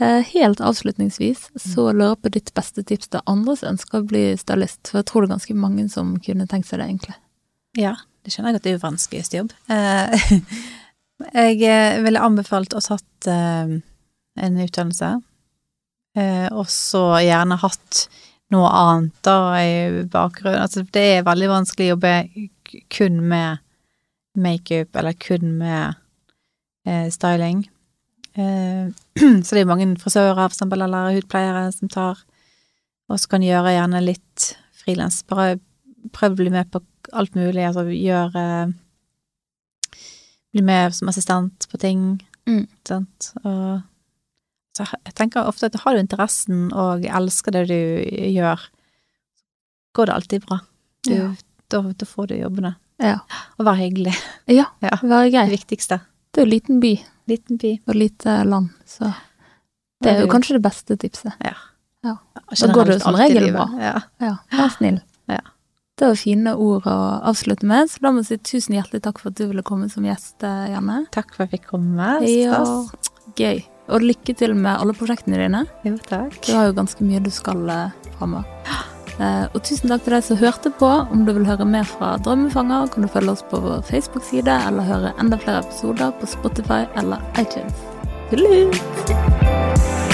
[SPEAKER 1] Eh, Helt avslutningsvis så lurer jeg på ditt beste tips til andre som ønsker å bli stylist, for jeg tror det er ganske mange som kunne tenkt seg det, egentlig.
[SPEAKER 2] Ja, det skjønner jeg at det er jo vanskeligste jobb. Eh, jeg eh, ville anbefalt å tatt eh, en utdannelse, eh, og så gjerne hatt noe annet da i bakgrunnen. Altså, det er veldig vanskelig å jobbe k- kun med makeup, eller kun med eh, styling. Eh, så det er mange frisører, for eksempel, eller hudpleiere som tar, og så kan gjøre gjerne litt frilans. Bare prøv å bli med på alt mulig, altså gjøre Bli med som assistent på ting,
[SPEAKER 1] Mm.
[SPEAKER 2] sant. Og så jeg- jeg tenker ofte at har du interessen og elsker det du gjør, går det alltid bra. Du,
[SPEAKER 1] Ja.
[SPEAKER 2] da, da får du jobbene.
[SPEAKER 1] Ja.
[SPEAKER 2] Og vær hyggelig.
[SPEAKER 1] Ja,
[SPEAKER 2] Ja.
[SPEAKER 1] være
[SPEAKER 2] Det
[SPEAKER 1] grei.
[SPEAKER 2] viktigste.
[SPEAKER 1] Det er jo en liten by
[SPEAKER 2] Liten by.
[SPEAKER 1] og lite land, så det er jo kanskje det beste tipset.
[SPEAKER 2] Ja.
[SPEAKER 1] Ja. Da går det jo som
[SPEAKER 2] Generelt alltid
[SPEAKER 1] regel
[SPEAKER 2] livet.
[SPEAKER 1] bra.
[SPEAKER 2] Ja.
[SPEAKER 1] Ja, vær snill.
[SPEAKER 2] Ja.
[SPEAKER 1] Det var fine ord å avslutte med, så da må jeg si tusen hjertelig takk for at du ville komme som gjest, eh, Janne.
[SPEAKER 2] Takk for at jeg fikk komme.
[SPEAKER 1] Ja,
[SPEAKER 2] Stas.
[SPEAKER 1] gøy. Og lykke til med alle prosjektene dine.
[SPEAKER 2] Jo, takk.
[SPEAKER 1] Du har jo ganske mye du skal eh, framover. Eh, Og tusen takk til deg som hørte på. Om du vil høre mer fra Drømmefanger, kan du følge oss på vår Facebook-side, eller høre enda flere episoder på Spotify eller iTunes. Tudelut!